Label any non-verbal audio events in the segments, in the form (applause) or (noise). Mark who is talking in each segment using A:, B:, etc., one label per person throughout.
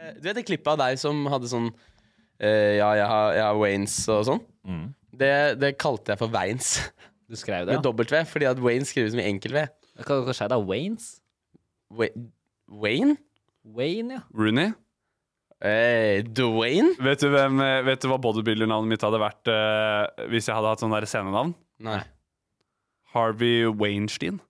A: Eh, Du vet det klippet av deg som hadde sånn eh, Ja, jeg har, jeg har Waynes og sånn.
B: Mm.
A: Det, det kalte jeg for Veins
C: Du skrev det,
A: med
C: ja?
A: dobbelt V, fordi at Wayne skrives med enkel V.
C: Hva, hva skjer da? Waynes?
A: Wa- Wayne?
C: Wayne, ja.
B: Rooney?
A: Eh, Dwayne?
B: Vet du, hvem, eh, vet du hva bodybuilder-navnet mitt hadde vært eh, hvis jeg hadde hatt sånn der scenenavn?
A: Nei.
B: Harvey Weinstein.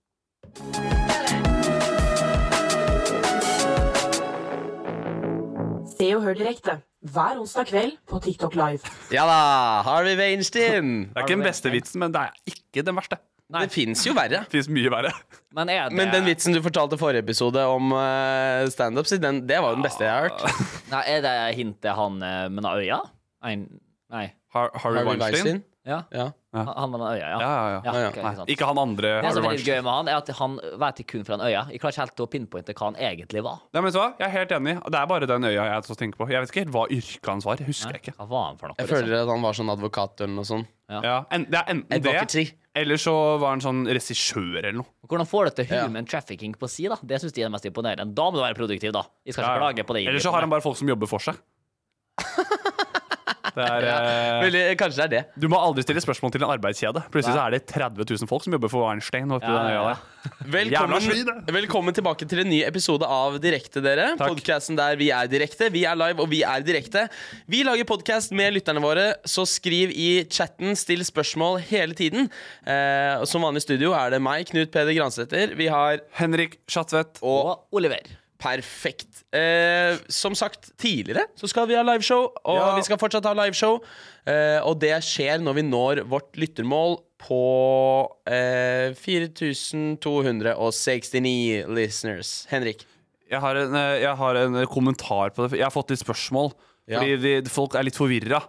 D: Se og hør direkte hver onsdag kveld på TikTok Live.
A: Ja da! Harvey
B: (laughs)
A: Weinstein!
B: Det er ikke den beste vitsen, men det er ikke den verste.
A: Det fins jo verre.
B: Det fins mye verre.
C: Men er det
A: Men den vitsen du fortalte i forrige episode om eh, standup, så den- det var jo den beste jeg har hørt.
C: Nei, er det hintet han eh, med den øya? Ein, nei.
B: Har Harvey Weinstein?
C: Ja.
A: Ja.
C: Han han med den øya, ja.
B: Ja, ja, ja.
C: Ja,
A: ja.
C: ok,
B: Nei,
C: ikke sant.
B: ikke han andre
C: Det som
B: Harvey
C: er litt gøy
B: Weinstein.
C: med han, er at han vet det kun fra den øya. Jeg klarer ikke helt å pinpointe hva han egentlig var.
B: Nei, men vet du hva? Jeg er helt enig. Det er bare den øya jeg også tenker på. Jeg vet ikke helt hva yrket hans var. Husker jeg ikke.
C: Hva var han for noe?
A: Jeg
C: liksom?
A: føler at han var sånn advokat eller noe sånt.
B: Ja, en, Det er enten det,
A: Advocacy.
B: eller så var han sånn regissør eller noe.
C: liksom? Hvordan får du til human trafficking på si, da? Det syns de er det mest imponerende. Da må du være produktiv, da. Jeg skal ikke klage på det.
B: Eller så har han bare folk som jobber for
C: (laughs)
B: seg. Det er, eh,
A: Eller kanskje det er det.
B: du må aldri stille spørsmål til en arbeidskjede. Plutselig så er det 30 000 folk som jobber for Weinstein. oppe i
C: Ja,
B: den
C: ja,
B: øya
C: ja.
B: der. Jævla svin, eh.
A: Velkommen,
B: det.
A: velkommen tilbake til en ny episode av Direkte, dere. Podkasten der vi er direkte. Vi er live, og vi er direkte. Vi lager podkast med lytterne våre, så skriv i chatten. Still spørsmål hele tiden. Eh, og som vanlig i studio er det meg, Knut Peder Gransæter. Vi har
B: Henrik Schatvedt.
C: Og Oliver.
A: Perfekt. Eh, som sagt tidligere så skal vi ha liveshow, og
B: Ja.
A: vi skal fortsatt ha liveshow. Eh, og det skjer når vi når vårt lyttermål på eh, 4269 listeners. Henrik.
B: Jeg har, en, eh, jeg har en eh, kommentar på det. Jeg har fått litt spørsmål.
A: Ja.
B: Fordi de, folk er litt forvirra.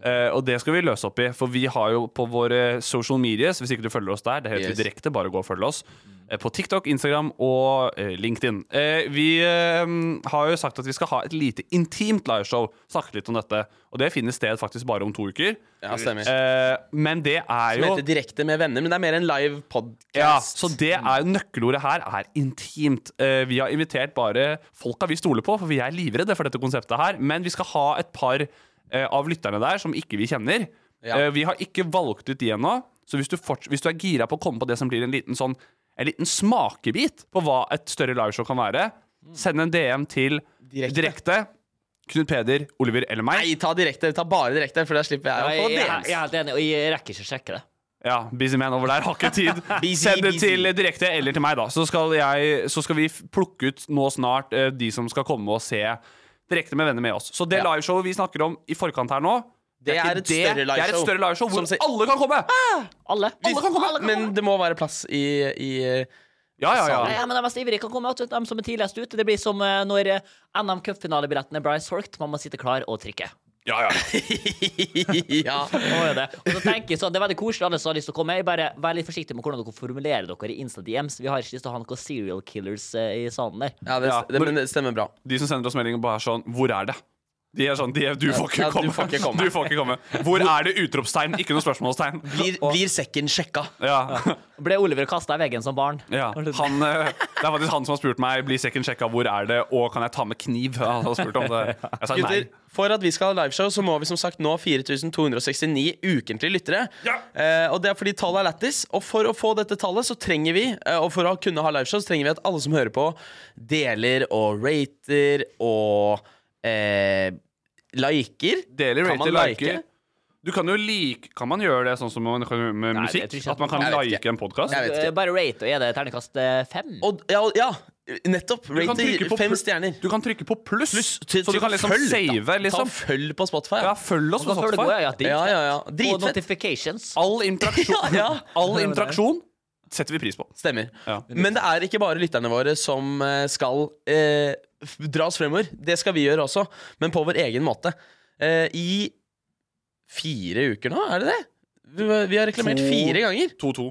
B: Eh, og det skal vi løse opp i. For vi har jo på våre social medias, hvis ikke du følger oss der, det heter
A: Yes.
B: direkte, bare gå og følg oss. Eh, på TikTok, Instagram og eh, LinkedIn. Eh, vi eh, har jo sagt at vi skal ha et lite intimt liveshow. Snakke litt om dette. Og det finner sted faktisk bare om to uker.
A: Ja, stemmer.
B: Eh, men det er
A: Som
B: jo
A: heter Direkte med venner, men det er mer en live podcast
B: ja, så det er nøkkelordet her er intimt. Eh, vi har invitert bare folka vi stoler på, for vi er livredde for dette konseptet her. Men vi skal ha et par eh, av lytterne der som ikke vi kjenner.
A: Ja.
B: Eh, vi har ikke valgt ut de ennå, så hvis du, forts- hvis du er gira på å komme på det som blir en liten, sånn, en liten smakebit på hva et større liveshow kan være, send en DM til
A: Mm. Direkte.
B: direkte. Knut Peder, Oliver eller meg.
A: Nei, ta direkte. Ta bare direkte, for da slipper
C: Jeg,
A: jeg å få
C: jeg, jeg, jeg
A: DMs.
C: er helt enig, og jeg rekker ikke å sjekke det.
B: Ja, busy man over der har ikke tid.
A: (laughs) Busy,
B: Send det
A: busy.
B: til direkte eller til meg, da. Så skal, jeg, så skal vi f- plukke ut nå snart eh, de som skal komme og se direkte med venner med oss. Så det
A: Ja.
B: liveshowet vi snakker om i forkant her nå,
A: Det
B: ikke
A: er et større
B: det er et
A: liveshow.
B: større liveshow
A: Som Ah!
B: hvor
A: se-
B: alle kan komme!
C: Alle.
B: Alle kan komme!
A: Men det må være plass i, i (laughs)
B: Ja, ja,
C: Nei,
B: ja.
C: ja, men De mest ivrige kan komme, vet du. de som er tidligst ute. Det blir som eh, når eh, NM Cup-finalebilletten er Bryce Horkt. Man må sitte klar og trykke.
B: Ja, ja.
A: ja.
C: Nå er det. Og så tenker jeg sånn, det er veldig koselig alle som har lyst til å komme. Jeg bare Vær litt forsiktig med hvordan dere formulerer dere i Instant DMs. Vi har ikke lyst til å ha noen serial killers eh, i salen der.
A: ja, det,
B: Ja,
A: det, men det stemmer bra.
B: De som sender oss meldinger bare er sånn Hvor er det? De er sånn, de er, du, får ikke
A: Ja, du
B: komme.
A: får ikke komme.
B: (laughs) Du får ikke komme. Hvor er det? Utropstegn, ikke noe spørsmålstegn.
A: Blir,
B: Og-
A: blir sekken sjekka?
B: ja,
C: Ble Oliver kasta i veggen som barn?
B: ja. Han, eh, det er faktisk han som har spurt meg Blir sekken sjekka, hvor er det, og kan jeg ta med kniv. Han har spurt om (laughs) det. Jeg sa nei.
A: Gutter, for at vi skal ha liveshow, så må vi som sagt nå 4269 ukentlige lyttere.
B: Ja.
A: Eh, og det er fordi tallet er lættis. Og for å få dette tallet, så trenger vi eh, Og for å kunne ha liveshow, så trenger vi at alle som hører på, deler og rater og eh, liker.
B: Deler,
A: Kan man
B: rater,
A: like?
B: liker. Du kan jo like Kan man gjøre det sånn som man kan med
C: Nei, det
B: musikk?
C: tror jeg ikke.
B: At man kan
A: Jeg vet
B: like
A: ikke.
B: en podkast?
A: Jeg vet ikke.
C: Eh, Bare rate, og er det terningkast eh, fem?
A: Og, ja, og- ja, nettopp.
B: Du kan
A: Rater
B: trykke på
A: fem
B: pl-
A: stjerner.
B: Du kan trykke på pluss,
A: til-
B: så du
A: til
B: kan liksom
A: følg, da.
B: save.
A: Ta
B: Liksom.
A: og følg på Spotify.
B: Ja, følg oss
C: Og
B: på
C: da føler du-
B: Spotify.
C: ja, dritfett.
A: Ja, ja, ja.
C: Og
A: Dritfett.
C: notifications.
B: All interaksjon,
A: (laughs) Ja, ja.
B: All interaksjon setter vi pris på.
A: Stemmer.
B: Ja.
A: Men det er ikke bare lytterne våre som eh, skal eh, f- dras fremover. Det skal vi gjøre også, men på vår egen måte. Eh, I fire uker nå, er det det? Vi, vi har reklamert
B: To-
A: fire ganger.
B: 2-2.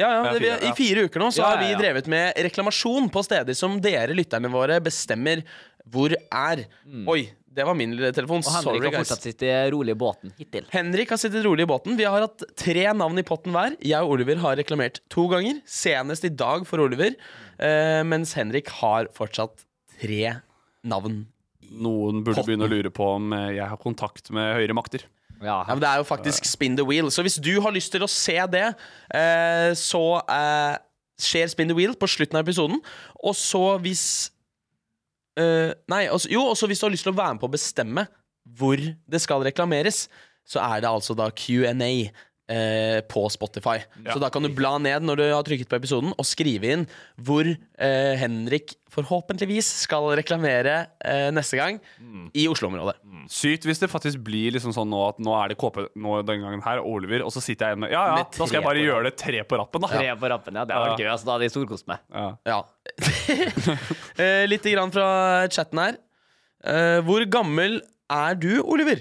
A: Ja, ja,
B: Ja,
A: det, vi,
B: fire, ja.
A: I fire uker nå så
B: Ja,
A: har
B: ja,
A: vi
B: ja.
A: drevet med reklamasjon på steder som dere, lytterne våre, bestemmer hvor er.
B: Mm.
A: Oi, det var min lille telefon.
C: Og Henrik
A: Sorry,
C: har
A: guys.
C: fortsatt sitt rolig i båten hittil.
A: Henrik har sittet rolig i båten. Vi har hatt tre navn i potten hver. Jeg og Oliver har reklamert to ganger, senest i dag for Oliver. eh, mens Henrik har fortsatt tre navn.
B: Noen burde begynne å lure på om eh, jeg har kontakt med høyere makter.
C: Ja,
A: Ja, men det er jo faktisk spin the wheel. Så hvis du har lyst til å se det, eh, så eh, skjer spin the wheel på slutten av episoden. Og så hvis eh, Nei, altså, jo, også hvis du har lyst til å være med på å bestemme hvor det skal reklameres, så er det altså da Q&A. eh, På Spotify. Så da kan du bla ned når du har trykket på episoden, og skrive inn hvor eh, Henrik forhåpentligvis skal reklamere eh, neste gang i Oslo-området.
B: Sykt hvis det faktisk blir liksom sånn nå at nå er det KP nå denne gangen her, og Oliver, og så sitter jeg igjen med Ja, ja,
A: Med
B: da skal
A: tre
B: jeg bare
A: på
B: gjøre det tre på rappen, da.
C: Tre på rappen, ja. Det var gøy. altså, Da hadde jeg storkost meg.
A: Ja.
B: (laughs)
A: Eh, Litt grann fra chatten her. Eh, Hvor gammel er du, Oliver?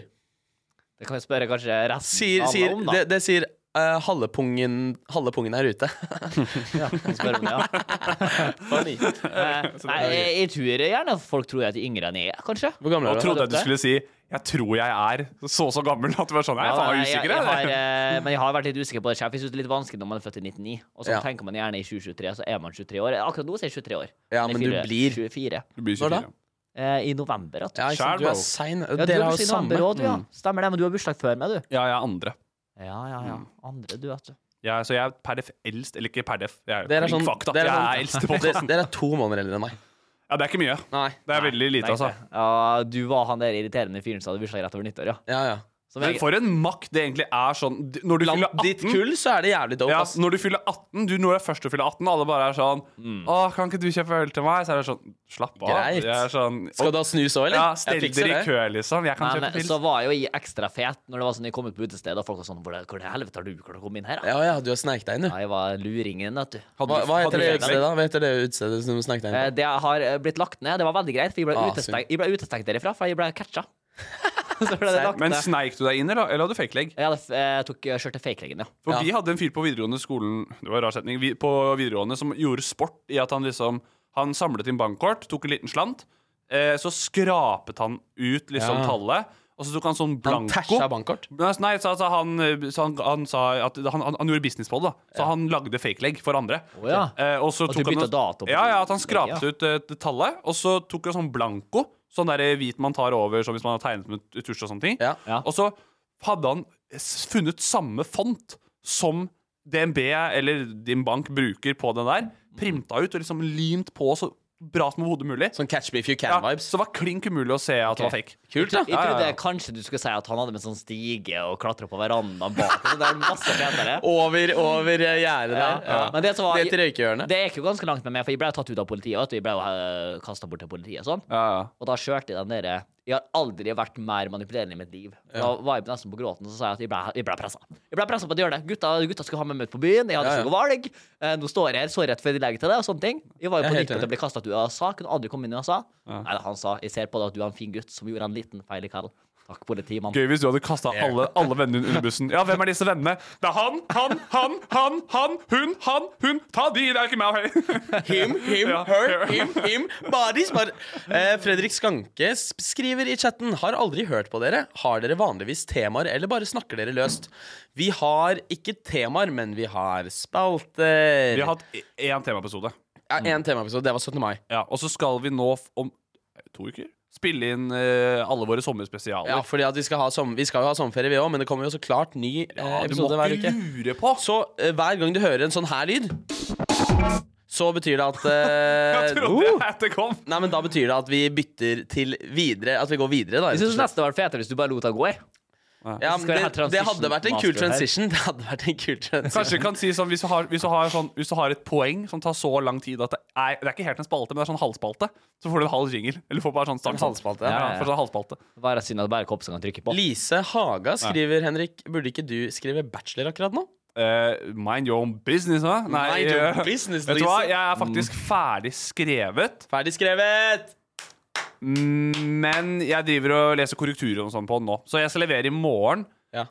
C: Det kan vi spørre kanskje resten
A: Sier,
C: av alle
A: sier,
C: om, da.
A: det, det sier eh, halve pungen halve pungen er ute.
C: Kan spørre om det, ja.
A: Funny. (laughs)
C: Eh, Nei, jeg, jeg tror gjerne at folk tror jeg er yngre enn jeg er, kanskje.
A: Hvor gammel
B: Og
A: er du?
B: trodde jeg du skulle si 'jeg tror jeg er så så gammel' at du var sånn Jeg er faen meg
C: jeg, jeg,
B: usikker,
C: jeg har,
B: jeg.
C: eh, men jeg har vært litt usikker på det sjøl. Jeg synes det er litt vanskelig når man er født i 99, og så
A: Ja.
C: tenker man gjerne i 2023, så er man 23 år. Akkurat nå så er jeg 23 år.
A: Ja,
C: Eller
A: men du
C: 24,
A: blir-
C: 24.
B: Du blir
A: Når da?
B: 24.
C: Eh, I november, at
A: Ja, ikke sant,
B: Skjær,
A: du
B: bro. Mm.
A: er sein.
C: Ja, du
A: Dere
C: har
A: har jo
C: bursdag i
A: samme. Mm.
C: november også, du, ja. Stemmer det, men du har bursdag før meg, du.
B: Ja, jeg er andre.
C: Ja, ja, ja.
A: Mm.
C: Andre, du, vet du.
B: Jeg, er- så jeg er per def eldst, eller ikke per def. Jeg er
A: Dere er
B: flink
A: sånn-
B: fakt, da.
A: dere er
B: Jeg
A: sånn-
B: er eldst i
A: (laughs) Dere,
B: podkasten.
A: dere er to måneder eldre enn meg.
B: Ja, det er ikke mye.
A: Nei.
B: Det er veldig lite, altså.
C: Ja, du var han der irriterende fyren som hadde bursdag rett over nyttår, ja.
A: Ja, ja.
C: Som
B: Men
C: jeg,
B: for en makt det egentlig er sånn d- Når du fyller
A: Blant ditt
B: 18
A: kull så er det jævlig dope.
B: ja,
A: ass.
B: Når du fyller 18, du når du er først til å fylle 18, alle bare er sånn 'Å, kan ikke du kjøpe øl til meg?' Så er det sånn Slapp av.
A: Mm. Greit.
B: Jeg er sånn
A: Skal du ha snus òg, eller?
B: Ja,
A: Jeg
B: stell
A: fikser
B: dere i
A: det.
B: kø, liksom. Jeg kan
C: men
B: kjøpe pils.
C: så var jeg jo ekstra fet når det var sånn jeg kom ut på utestedet, og folk var sånn Hvor det- hvor det helvete har du klart å komme inn her, da?
A: Ja, ja, du har sneiket deg inn, du.
C: Ja, jeg var luringen, vet du.
A: Hva, hva heter
B: hadde
A: det
B: du-
A: utestedet, da? Hva heter det utestedet som du snakket deg
C: Eh,
A: inn på?
C: Det har eh, blitt lagt ned. Det var veldig greit, for jeg ble,
A: Ah,
C: utestengt, jeg ble utestengt derifra, for jeg ble
B: (laughs)
C: catcha. så ble det lagt
B: Men
C: ned.
B: sneik du deg inn, eller, eller hadde du fake leg?
C: Jeg hadde, f- eh, tok eh, skjørtet fake-leggen, ja.
B: For
A: Ja.
B: vi hadde en fyr på videregående skolen Det var en rar setning vi, På videregående som gjorde sport i at han liksom Han samlet inn bankkort, tok en liten slant eh, Så skrapet han ut liksom
A: Ja.
B: tallet Og så tok han sånn
A: Han
B: blanko
A: tæsja bankkort.
B: Nei, så- nei, så, altså, han, eh, så han, han sa at han, han, han gjorde business på det da Så han lagde fake leg for andre
C: Å, ja.
B: eh, Og så
C: At
B: tok
C: du bytta
B: han
C: dato på
B: Ja, ja, at han
C: det,
B: skrapet
C: ja.
B: ut eh, det tallet Og så tok han sånn blanko Sånn der eh, hvit man tar over Som hvis man har tegnet med tusj og sånne ting
A: Ja.
C: Ja.
B: Og så hadde han s- funnet samme font som DNB eller din bank bruker på den
C: Mm.
B: der. Printa ut og liksom limt på så bra som overhodet mulig.
A: Sånn catch me if you
B: Ja,
A: can-vibes.
B: så det var klink umulig å se at det var fake.
A: Kult, da.
C: Jeg
B: Ja, ja,
C: trodde
B: ja.
C: kanskje du skulle si at han hadde med sånn stige og klatra på verandaen bak. og Det er masse fetere.
A: Over, over eh, gjerdet
C: Ja,
A: der. Ja.
C: Men det som var-
A: Ned til røykehjørnet.
C: Det gikk jo ganske langt med meg, for jeg ble jo tatt ut av politiet. Vet du. Jeg ble jo kasta bort til politiet og sånn.
B: Ja, ja.
C: Og da kjørte jeg den derre Jeg har aldri vært mer manipulerende i mitt liv. Da var jeg nesten på gråten, så sa jeg at jeg ble, jeg ble pressa. Jeg ble pressa på et hjørne. Gutta, gutta skulle ha meg med ut på byen, jeg hadde
A: Ja, ja.
C: ikke noe valg. Eh, nå står jeg her, så rett før de legger til det, og sånne ting. Jeg var jo
A: Jeg er helt
C: på nippet til
A: enig.
C: å bli kasta ut av USA, kunne aldri komme inn i USA. Nei, han sa jeg ser på deg at du er en fin gutt som gjorde en liten feil i kveld. Takk, politimann.
B: Gøy hvis du hadde kasta alle, alle vennene dine under bussen. Ja, hvem er disse vennene? Det er han, han, han, han, han, hun, han, hun. Ta de, det er ikke meg. (laughs)
A: Him, him,
B: Ja.
A: her, him, him, bodies, bar- Eh, Fredrik Skanke sp- skriver i chatten Har aldri hørt på dere. Har dere vanligvis temaer, eller bare snakker dere løst? Vi har ikke temaer, men vi har spalter.
B: Vi har hatt
A: e-
B: én temaepisode,
A: ja, en temaepisode. Det var 17. mai.
B: ja, og så skal vi nå f- om to uker spille inn eh, alle våre sommerspesialer.
A: Ja, fordi at vi skal, ha som, vi skal jo ha sommerferie, vi òg, men det kommer jo så klart ny eh,
B: Ja, du må
A: episode hver uke.
B: ikke lure på!
A: Så eh, hver gang du hører en sånn her lyd, så betyr
B: (laughs)
A: det at eh,
B: Jeg trodde jeg at det kom.
A: Nei, men da betyr det at vi bytter til videre. At vi går videre, da.
C: Jeg syns nesten det hadde vært fetere hvis du bare lot det gå. jeg.
A: Ja,
C: Skal
A: men
C: jeg ha
A: det, det hadde
C: transition
A: vært en kul
C: master her?
A: transition. (laughs) Det hadde vært en kul transition
B: Kanskje vi kan si sånn hvis du, har, hvis, du har sånn hvis du har et poeng som tar så lang tid at det er, det er ikke helt en spalte, men det er sånn halvspalte, så får du en halv jingle. Eller får bare sånn start.
A: En halvspalte, ja.
B: ja.
C: Ja, ja, ja.
B: får sånn halvspalte.
C: Bare synd at det bare er Kopsen kan trykke på.
A: (laughs) Lise Haga skriver, Henrik, burde ikke du skrive bachelor akkurat nå?
B: Eh, mind your own business, hva?
A: Mind your
B: eh,
A: business,
B: Vet du hva,
A: Lise. Mm.
B: jeg er faktisk ferdig skrevet,
A: Ferdig skrevet!
B: men jeg driver og leser korrekturer og sånn på den nå. Så jeg skal levere i morgen.
A: Ja.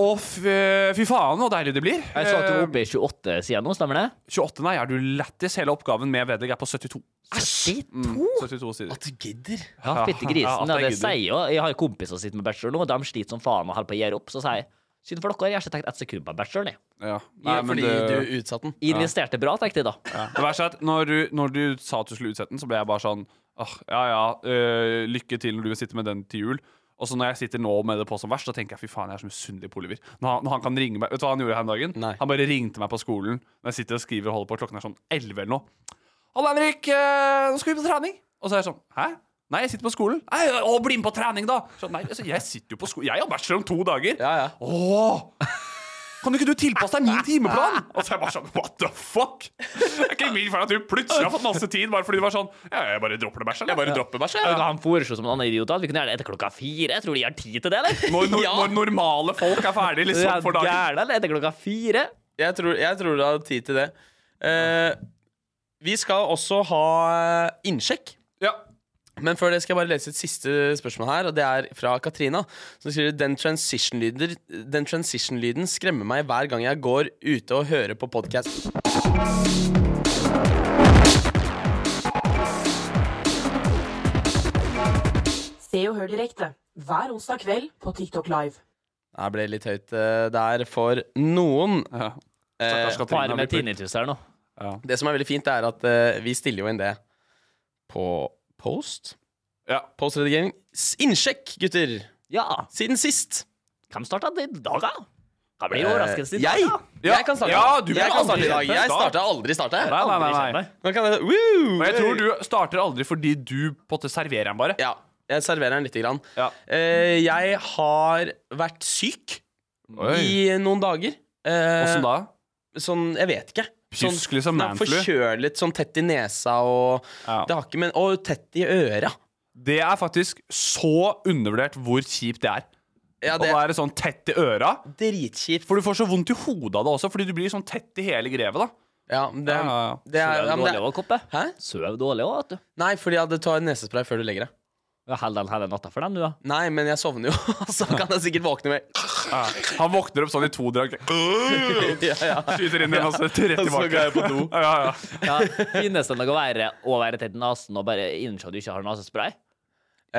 B: Å, fy, fy faen, så deilig det blir.
C: Jeg så at du var
B: Eh,
C: oppe i 28 sider nå, stemmer det?
B: 28, nei, er du lættis? Hele oppgaven med vedlegg er på 72.
C: Shit.
B: Mm, 72 sider.
A: At du gidder.
C: Ja,
B: (laughs)
C: fytti
B: Ja, at
C: grisen. Ja,
B: jeg
C: det
B: gidder.
C: sier jo Jeg har jo kompiser som sitter med bachelor nå, og de sliter som faen og holder på å gi opp. Så sier jeg synd for dere, jeg har ikke tenkt ett sekund på bacheloren. jeg.
B: Ja. Nei,
A: Ja,
B: men
A: fordi
B: det-
A: du utsatte den.
C: Jeg Investerte bra, tenkte jeg da.
B: Ja. Det verste er at når du, når du sa at du skulle utsette den, så ble jeg bare sånn Åh, ja ja, øh, lykke til når du sitter med den til jul. Og så når jeg sitter nå med det på som verst, så tenker jeg fy faen, jeg er så misunnelig på Oliver. Når han, når han kan ringe meg, Vet du hva han gjorde her om dagen?
A: Nei.
B: Han bare ringte meg på skolen når jeg sitter og skriver og holder på, klokken er sånn 11 eller noe. Hallo, Henrik, øh, nå skal vi på trening. Og så er jeg sånn Hæ? Nei, jeg sitter på skolen. Nei, å, bli med på trening, da! Så, nei, altså, jeg sitter jo på skolen. Jeg har bachelor om to dager.
A: Ja, ja.
B: Åh! Kan ikke du tilpasse deg min timeplan? (laughs) Og så er jeg bare sånn, what the fuck? Det er ikke min feil at du plutselig har fått masse tid bare fordi du var sånn Ja, jeg bare dropper det bæsj, eller? Jeg bare dropper bæsj,
C: Da han foreslo som en annen idiot at vi kunne gjøre det etter klokka fire. Jeg tror de har tid til det, eller?
B: Når, når,
A: Ja.
B: når normale folk er ferdig liksom, for dagen.
C: Gæren, eller? Etter klokka fire?
A: Jeg tror, jeg tror du hadde tid til det. Eh, vi skal også ha innsjekk.
B: Ja.
A: Men før det skal jeg bare lese et siste spørsmål her, og det er fra Katrina. Som skriver den transition-lyden Den transition-lyden skremmer meg hver gang jeg går ute og hører på podkast.
D: Se og hør direkte hver onsdag kveld på TikTok Live.
A: Det ble litt høyt eh, der for noen.
B: ja.
A: Eh,
B: Stakkars Katrina
C: Par
B: blir
C: med
B: pult.
C: tinnitus her nå.
A: det som er veldig fint, det er at eh, vi stiller jo inn det på post.
B: Ja.
A: Postredigering. S- Innsjekk, gutter!
C: Ja.
A: Siden sist.
C: Hvem starta i dag, da? Hva blir
A: Eh,
C: overraskelsen i dag,
A: jeg?
C: da?
B: Ja.
A: Jeg kan starte.
B: Ja, du
A: jeg
B: kan
A: kan starte
B: aldri
A: i dag.
B: kjenne
A: Jeg
B: start.
A: starta aldri starta.
B: Nei, nei, nei,
C: Aldri
B: nei.
C: kjent deg.
A: Nå kan jeg, Woo!
B: Men jeg tror du starter aldri fordi du på en måte serverer den bare.
A: Ja, jeg serverer den lite grann.
B: Ja.
A: Eh, jeg har vært syk i noen dager. Eh,
B: Åssen da?
A: Sånn, jeg vet ikke. Sånn,
B: Kysk liksom
A: nei,
B: manflu.
A: forkjølet, sånn tett i nesa og
B: Ja.
A: Det har ikke, men, Og tett i øra.
B: Det er faktisk så undervurdert hvor kjipt det er.
A: Ja,
B: Å
A: det er
B: være sånn tett i øra.
A: dritkjipt.
B: For du får så vondt i hodet av det også, fordi du blir sånn tett i hele grevet. da
A: Ja, men det,
B: Ja, ja, ja.
A: det er,
C: Søv
A: ja, men
C: dårlig
A: det,
C: òg, Koppe.
A: Hæ?
C: Søv dårlig òg, vet du.
A: Nei, fordi at du tar nesespray før du legger deg.
C: Ja, Hell den hele natta for den, du, da.
A: Nei, men jeg sovner jo, (laughs) så kan jeg sikkert våkne med
B: Ja. Han våkner opp sånn i to drag.
A: ja, ja.
B: Skyter inn i masse trett
A: Og (laughs) så
B: tilbake.
A: går jeg på do.
B: Ja, ja.
C: Ja, Finnes det noe verre å være tett i nesen og bare innse at du ikke har nesespray?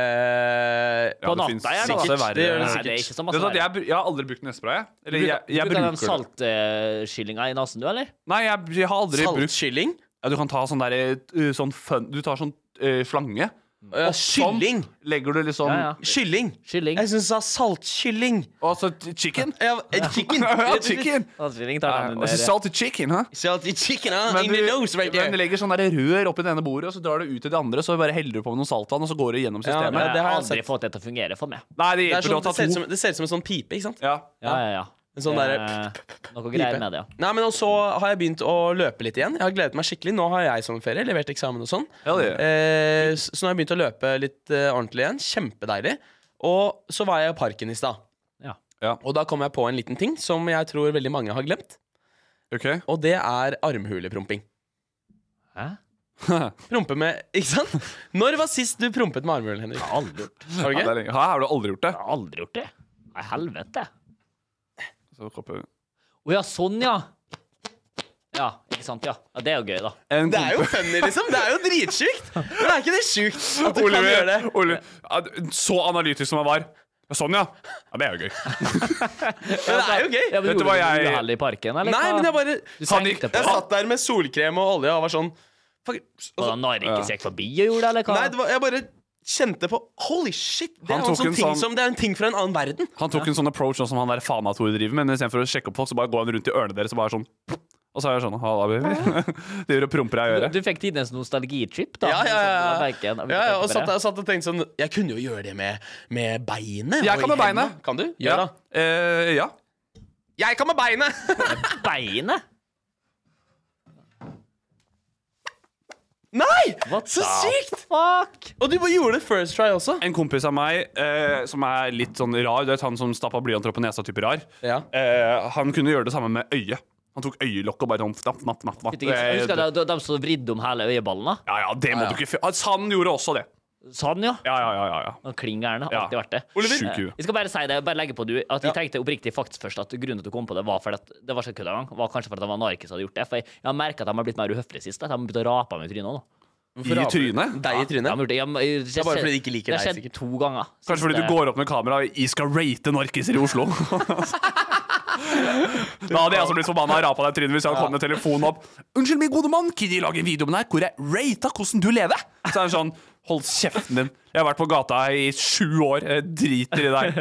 A: Eh,
B: Ja,
C: På
B: det
C: natta,
B: finnes
C: jeg, da.
B: masse
A: Sikkert, det gjør
B: verre.
A: det sånn
C: Nei,
A: sikkert.
C: det er ikke så
B: Vet
C: masse
B: du sånn at
C: verre.
B: jeg, br- jeg har aldri brukt nesespray. jeg. Eller jeg, jeg
C: Bruker du den
B: bruker det.
C: saltskyllinga i nesen, du, eller?
B: Nei, jeg, jeg har aldri brukt
A: Saltkylling?
B: ja, Du kan ta sånn derre uh, sånn fun Du tar sånn uh, slange.
A: Eh,
B: og sånn
A: Kylling?
B: Legger du liksom
C: Ja, ja.
A: Kylling?
C: Kylling.
A: Jeg syns du sa saltkylling.
B: Og så t- chicken.
A: Ja, eh, chicken.
B: (laughs) Ja, chicken.
C: Saltskylling tar
B: Ja,
A: altså,
B: Og
C: den
B: så
C: under.
B: salty chicken, hæ?
A: Salty chicken, huh?
B: Men
A: In the nose right
B: men du
A: there.
B: legger sånn der rør oppi det ene bordet, og så drar du ut i det andre, så bare heller du på med noe saltvann, og så går det gjennom
A: Ja, ja,
B: systemet.
A: det
C: Jeg
A: har
C: har
A: jeg
C: aldri
A: sett.
C: fått det til å fungere for meg.
B: Nei, det
A: Det, er
B: hjelper
A: sånn,
B: å ta
A: det, ser ut som,
B: to.
A: det ser ut som en sånn pipe, ikke sant?
B: Ja.
C: Ja, ja, ja.
A: En sånn
C: Det
A: derre
C: er Noe greier med det, ja.
A: Nei, men og så har jeg begynt å løpe litt igjen. Jeg har gledet meg skikkelig. Nå har jeg sommerferie, levert eksamen og sånn.
B: Ja, det gjør jeg.
A: Eh, s- så nå har jeg begynt å løpe litt eh, ordentlig igjen. Kjempedeilig. Og så var jeg i parken i stad.
C: Ja.
B: Ja.
A: Og da kom jeg på en liten ting som jeg tror veldig mange har glemt.
B: Ok.
A: Og det er armhulepromping.
C: Hæ?
A: Prompe med Ikke sant? Når var sist du prompet med armhulen, Henrik?
C: Aldri gjort det.
A: Har du
B: Ja, det
A: ikke?
B: er lenge. Hæ, har du aldri gjort det?
C: Jeg har aldri gjort det. Nei, helvete.
B: Så kopper-
C: Å ja, sånn, ja. Ja, ikke sant, ja. ja. Det er jo gøy, da.
B: En
A: Det er jo funny, liksom. Det er jo dritsjukt. Men er ikke det sjukt at du kan gjøre
B: Oliver,
A: det?
B: Oliver, ja, du- så analytisk som jeg var. Ja, Sånn, ja. ja! Det er jo gøy.
A: Men det er jo gøy.
C: Ja, men
B: Vet du
C: gjorde
B: hva
C: du
B: jeg-
C: uhell i parken, eller?
A: Nei,
C: hva?
A: men jeg bare
B: Han
C: Du tenkte
B: gikk-
C: på
A: Jeg satt der med solkrem og olje og var sånn fuck,
C: Var det
A: altså,
C: en narkis gikk forbi og gjorde det, eller hva?
A: Nei, det var, jeg bare kjente på Holy shit! Det
B: Han
A: er, en
B: tok
A: sånn
B: en
A: ting
B: sånn-
A: som, det er en ting fra en annen verden.
B: Han tok en sånn approach sånn som han der Fana-Tor driver med, men istedenfor å sjekke opp folk, så bare går han rundt i ørene deres og bare sånn Og så er jeg sånn Halla, baby. (laughs) Driver og promper deg i
C: Du,
B: øret.
C: du fikk tidenes nostalgitrip, da.
A: Ja, ja,
C: Sånn,
A: ja.
C: merker jeg,
A: ja,
C: når vi
A: ja
C: tenker
A: og
C: på
A: satt,
C: det.
A: jeg satt og tenkte sånn Jeg kunne jo gjøre det med, med beinet.
B: Jeg
A: og
B: kan
A: i
B: med beinet.
A: hendene. Kan du?
B: Ja.
A: Gjør det.
B: Eh, ja.
A: Jeg kan med beinet!
C: Beinet!
A: (laughs) Nei!
C: What
A: Så
C: the
A: sykt!
C: Fuck!
A: Og du bare gjorde det first try også.
B: En kompis av meg eh, som er litt sånn rar, du vet han som stappa blyanter opp på nesa-type rar,
A: Ja.
B: eh, han kunne gjøre det samme med øyet. Han tok øyelokket og bare sånn fnapp, fnapp, fnapp. fnapp.
C: Fytti grisen. Jeg Husker
B: Eh,
C: du de, de som vridde om hele øyeballen? da?
B: Ja, ja, det må
A: ja.
B: du ikke fjerne. Sand gjorde også det.
C: Sånn, ja.
B: Ja, ja, ja. ja, ja.
C: Og Klin gæren. har
B: Ja.
C: Alltid vært det.
B: Oliver?
C: Eh,
B: Sjuk hue.
C: Jeg skal bare si det, bare legge på du, at jeg
A: Ja.
C: tenkte oppriktig faktisk først at grunnen til at du kom på det, var fordi at det var så kødda gang. Var kanskje fordi at det var narkis som hadde gjort det. For jeg, jeg har merket at de har blitt mer uhøflige sist. At de har begynt å rape meg i trynet nå.
A: Hvorfor
B: I
A: raper du Deg i
B: trynet?
C: De har
A: trynet?
C: gjort det. Jeg, jeg, jeg,
A: er bare fordi de ikke liker
C: det har
A: deg,
C: skjedd
A: sikkert.
C: to ganger.
B: Kanskje fordi du går opp med kamera og jeg skal rate narkiser i Oslo. (laughs) da hadde jeg også blitt forbanna og rapa deg i trynet hvis jeg hadde kommet med telefonen opp. 'Unnskyld, min gode mann, kunne jeg lage en video om deg hvor jeg rata hvordan du lever?' Så er han sånn 'Hold kjeften din'. Jeg har vært på gata i sju år. Jeg driter i (laughs) deg.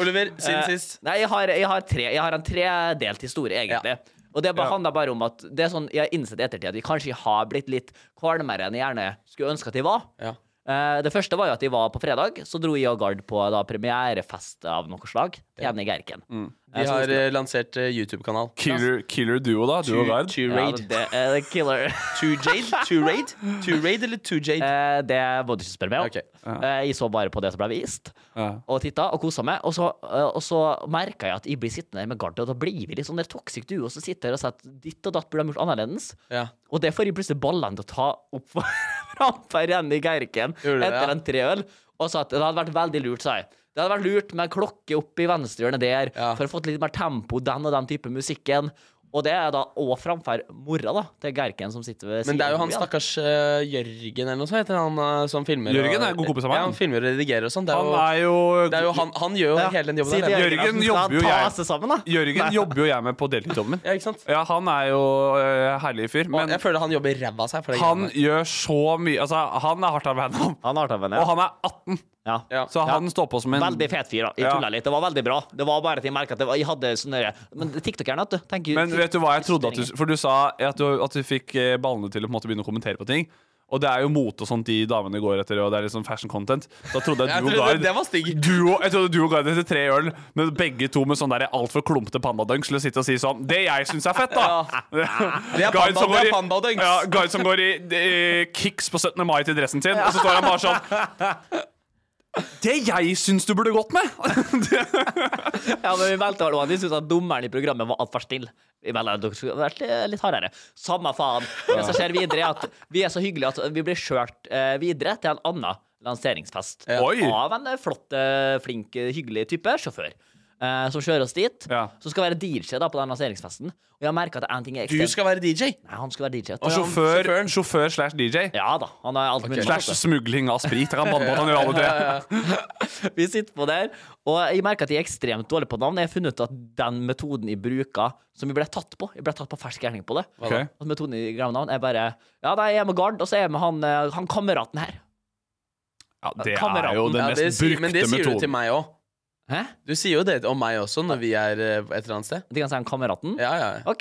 A: Oliver,
C: Eh,
A: siden sist.
C: Nei, jeg har, jeg har, tre, jeg har en tredelt historie, egentlig. Og det bare handler bare om at Det er sånn, Jeg har innsett i ettertid at jeg kanskje har blitt litt kvalmere enn jeg gjerne skulle ønske at jeg var.
A: Ja.
C: Eh, det første var jo at jeg var på fredag. Så dro jeg og Gard på da, premierefest av noe slag. Hjemme i Gerken. Eh,
A: De
C: så
A: har
C: skulle-
A: eh, lansert eh, YouTube-kanal.
B: Killer, killer duo, da. Du og Gard.
A: To
C: ja,
A: raid.
C: det, eh,
A: (laughs)
C: killer.
A: To jade? To raid? To raid eller to jade?
C: Eh, det må du ikke spørre meg om.
A: Ok.
C: Eh, jeg så bare på det som ble vist,
B: Ja.
C: og titta og kosa meg. Og så, eh, og så merka jeg at jeg blir sittende der med Gard, og da blir vi litt sånn der toxic duo som sitter og sier at ditt og datt burde de gjort annerledes.
A: Ja.
C: Og det får jeg plutselig ballene til å ta opp (laughs) framfor Renny Gerken
A: Gjorde det, ja.
C: etter en tre øl, og sa at det hadde vært veldig lurt, sa jeg. Det hadde vært lurt med en klokke opp i venstre hjørne der,
A: Ja.
C: for å få litt mer tempo, den og den type musikken. Og det er da òg framfor mora da, til Gerken som sitter ved
A: Men det er jo
C: av
A: han
C: igjen.
A: stakkars eh, Jørgen eller noe sånt, heter han eh, som filmer
B: Jørgen
A: og-
B: er en god kompis av meg.
A: Ja, han filmer og redigerer og sånn. Det er
B: Han
A: jo,
B: er jo
A: det er jo han, han gjør jo hele den jobben
C: Si til
A: der.
B: Jørgen
C: at den
B: jobber jo
C: skal ta
B: jeg.
C: seg sammen, da.
B: Jørgen jobber jo jeg med på deltidsjobben min.
A: Ja, ikke sant?
B: Ja, han er jo eh, herlig fyr,
A: Men,
B: men
A: jeg føler han jobber ræva av seg. For det
B: han
A: greiene der.
B: gjør så mye Altså, han er hardt arbeidende, han.
C: Han har tatt venn,
B: Og han er 18,
C: ja. ja.
A: ja.
B: så han står på som en
C: Veldig fet fyr, da. Jeg
B: Ja.
C: tulla litt. Det var veldig bra. Det var bare at jeg merket at det var, jeg hadde sånne Men tiktokerne, vet du. Tenk,
B: Men vet du hva jeg trodde at du For du sa at du, at du fikk eh, ballene til å på en måte begynne å kommentere på ting. Og det er jo mote og sånt de damene går etter, og det er litt sånn fashion content. Da trodde
A: (laughs)
B: jeg
A: Jeg
B: du og
A: trodde
B: Gard
A: det var stygg.
B: Du og, jeg trodde du og Gard etter tre øl, men begge to med sånn der altfor klumpete pandadunk, skulle sitte og si sånn Det jeg syns er fett, (laughs) da!
A: Det er
B: Gard
A: panda- det
B: som går
A: er pandadunks.
B: i- Ja, Gard som går i eh, kicks på 17. mai til dressen sin, og så står han bare sånn Det jeg syns du burde gått med!
C: (laughs)
B: (laughs)
C: Ja, men vi meldte alle De syntes at dommeren i programmet var altfor snill. Vi meldte at dere skulle vært eh, litt- litt hardere. Samme faen. Det som skjer videre, er at vi er så hyggelige at vi blir kjørt eh, videre til en annen lanseringsfest
B: Oi.
C: av en eh, flott, eh, flink, eh, hyggelig type sjåfør. eh, som kjører oss dit.
B: Ja.
C: Som skal være DJ da på den lanseringsfesten. Og jeg har merket at en ting er
A: Du
C: ekstremt
A: skal være DJ!
C: Nei, han skal være DJ.
B: Og
C: Ja.
B: sjåfør, sjåfør slash DJ.
C: Ja da. Han er alt mulig.
B: Slash smugling av sprit. Jeg kan
A: (laughs)
B: banne på at han gjør alle tre.
C: (laughs) Vi sitter på der, og jeg merker at jeg er ekstremt dårlig på navn. Jeg har funnet ut at den metoden jeg bruker, som jeg ble tatt på Jeg ble tatt på fersk gjerning på det.
B: Ok.
C: At metoden jeg glemmer navn, er bare Ja, nei, jeg er med Gard, og så er jeg med han, eh, han kameraten her.
B: Ja, det er
C: Kameraten.
B: jo den
A: Ja,
B: mest
A: det sier, men det
B: brukte
A: sier du til
B: metoden.
A: meg òg.
C: Hæ?
A: Du sier jo det om meg også når vi er eh, et eller annet sted.
C: De kan si han kameraten?
A: Ja, ja. ja.
C: OK.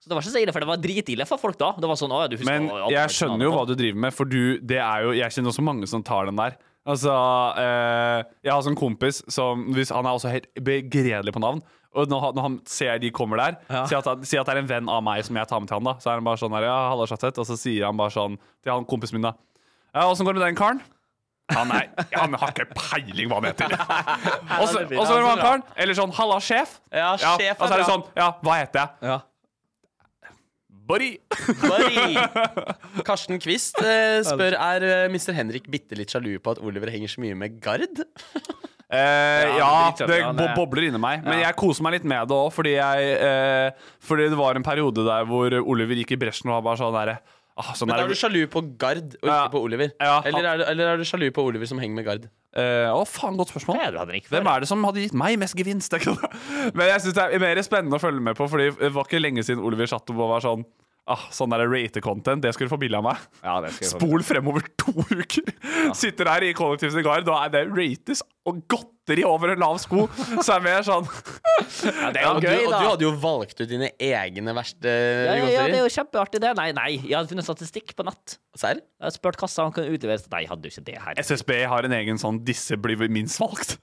C: Så det var ikke så ille, for det var dritille for folk da. Det var sånn, å, ja, du husker
B: Men jeg skjønner jo hva du driver med, for du, det er jo, jeg kjenner også mange som tar den der. Altså, eh, Jeg har også en kompis som hvis, Han er også helt begredelig på navn. Og når han, når han ser de kommer der, sier at, han- sier at det er en venn av meg som jeg tar med til han, da. Så er han bare sånn her, ja, halla, Chatet. Og så sier han bare sånn til han kompisen min, da. Ja, åssen går det med den karen? Han, er, han har ikke peiling hva han (laughs) heter. Og så og så er det han karen. Eller sånn, halla, sjef.
A: Ja, sjef er
B: og så er det
A: bra.
B: sånn, ja, hva heter jeg?
A: Ja.
B: Buddy! (laughs)
A: Bari. Karsten Kvist eh, spør er eh, Mr. Henrik bitte litt sjalu på at Oliver henger så mye med Gard.
B: Eh, ja,
C: det
B: det,
C: dritkjøper han,
B: bo
C: det.
B: bobler inni meg. Men jeg koser meg litt med det òg, fordi, jeg, eh, fordi det var en periode der hvor Oliver gikk i bresjen og var bare sånn derre ah, sånn
A: Men da
B: der,
A: er du sjalu på Gard og ikke
B: Ja.
A: på Oliver.
B: Ja.
A: Eller, er du, eller er du sjalu på Oliver som henger med Gard?
B: Eh, Å, faen, godt spørsmål.
C: Det er du, Henrik, for.
B: Hvem er det som hadde gitt meg mest gevinst? Det er ikke det. (laughs) Men jeg synes det er mer spennende å følge med på, Fordi det var ikke lenge siden Oliver satt opp og var sånn Ah, sånn der rate-content, det skulle du få bilde av meg.
C: Ja, det skal jeg få
B: Spol fremover to uker! Sitter her i kollektiv sigar, da er det rates og godteri over en lav sko! Så er det mer sånn ja,
C: det er jo
A: Og du,
C: Gøy,
A: og
C: da.
A: du hadde jo valgt ut dine egne verste eh,
C: Ja, ja, ja, det
A: godterier.
C: er jo kjempeartig, det. Nei, nei. Jeg hadde funnet statistikk på nett.
A: Serr?
C: Jeg hadde spurt kassa om han kunne utlevere Nei, jeg hadde jo ikke det her.
B: SSB har en egen sånn 'disse blir minst
A: (laughs)
B: valgt'.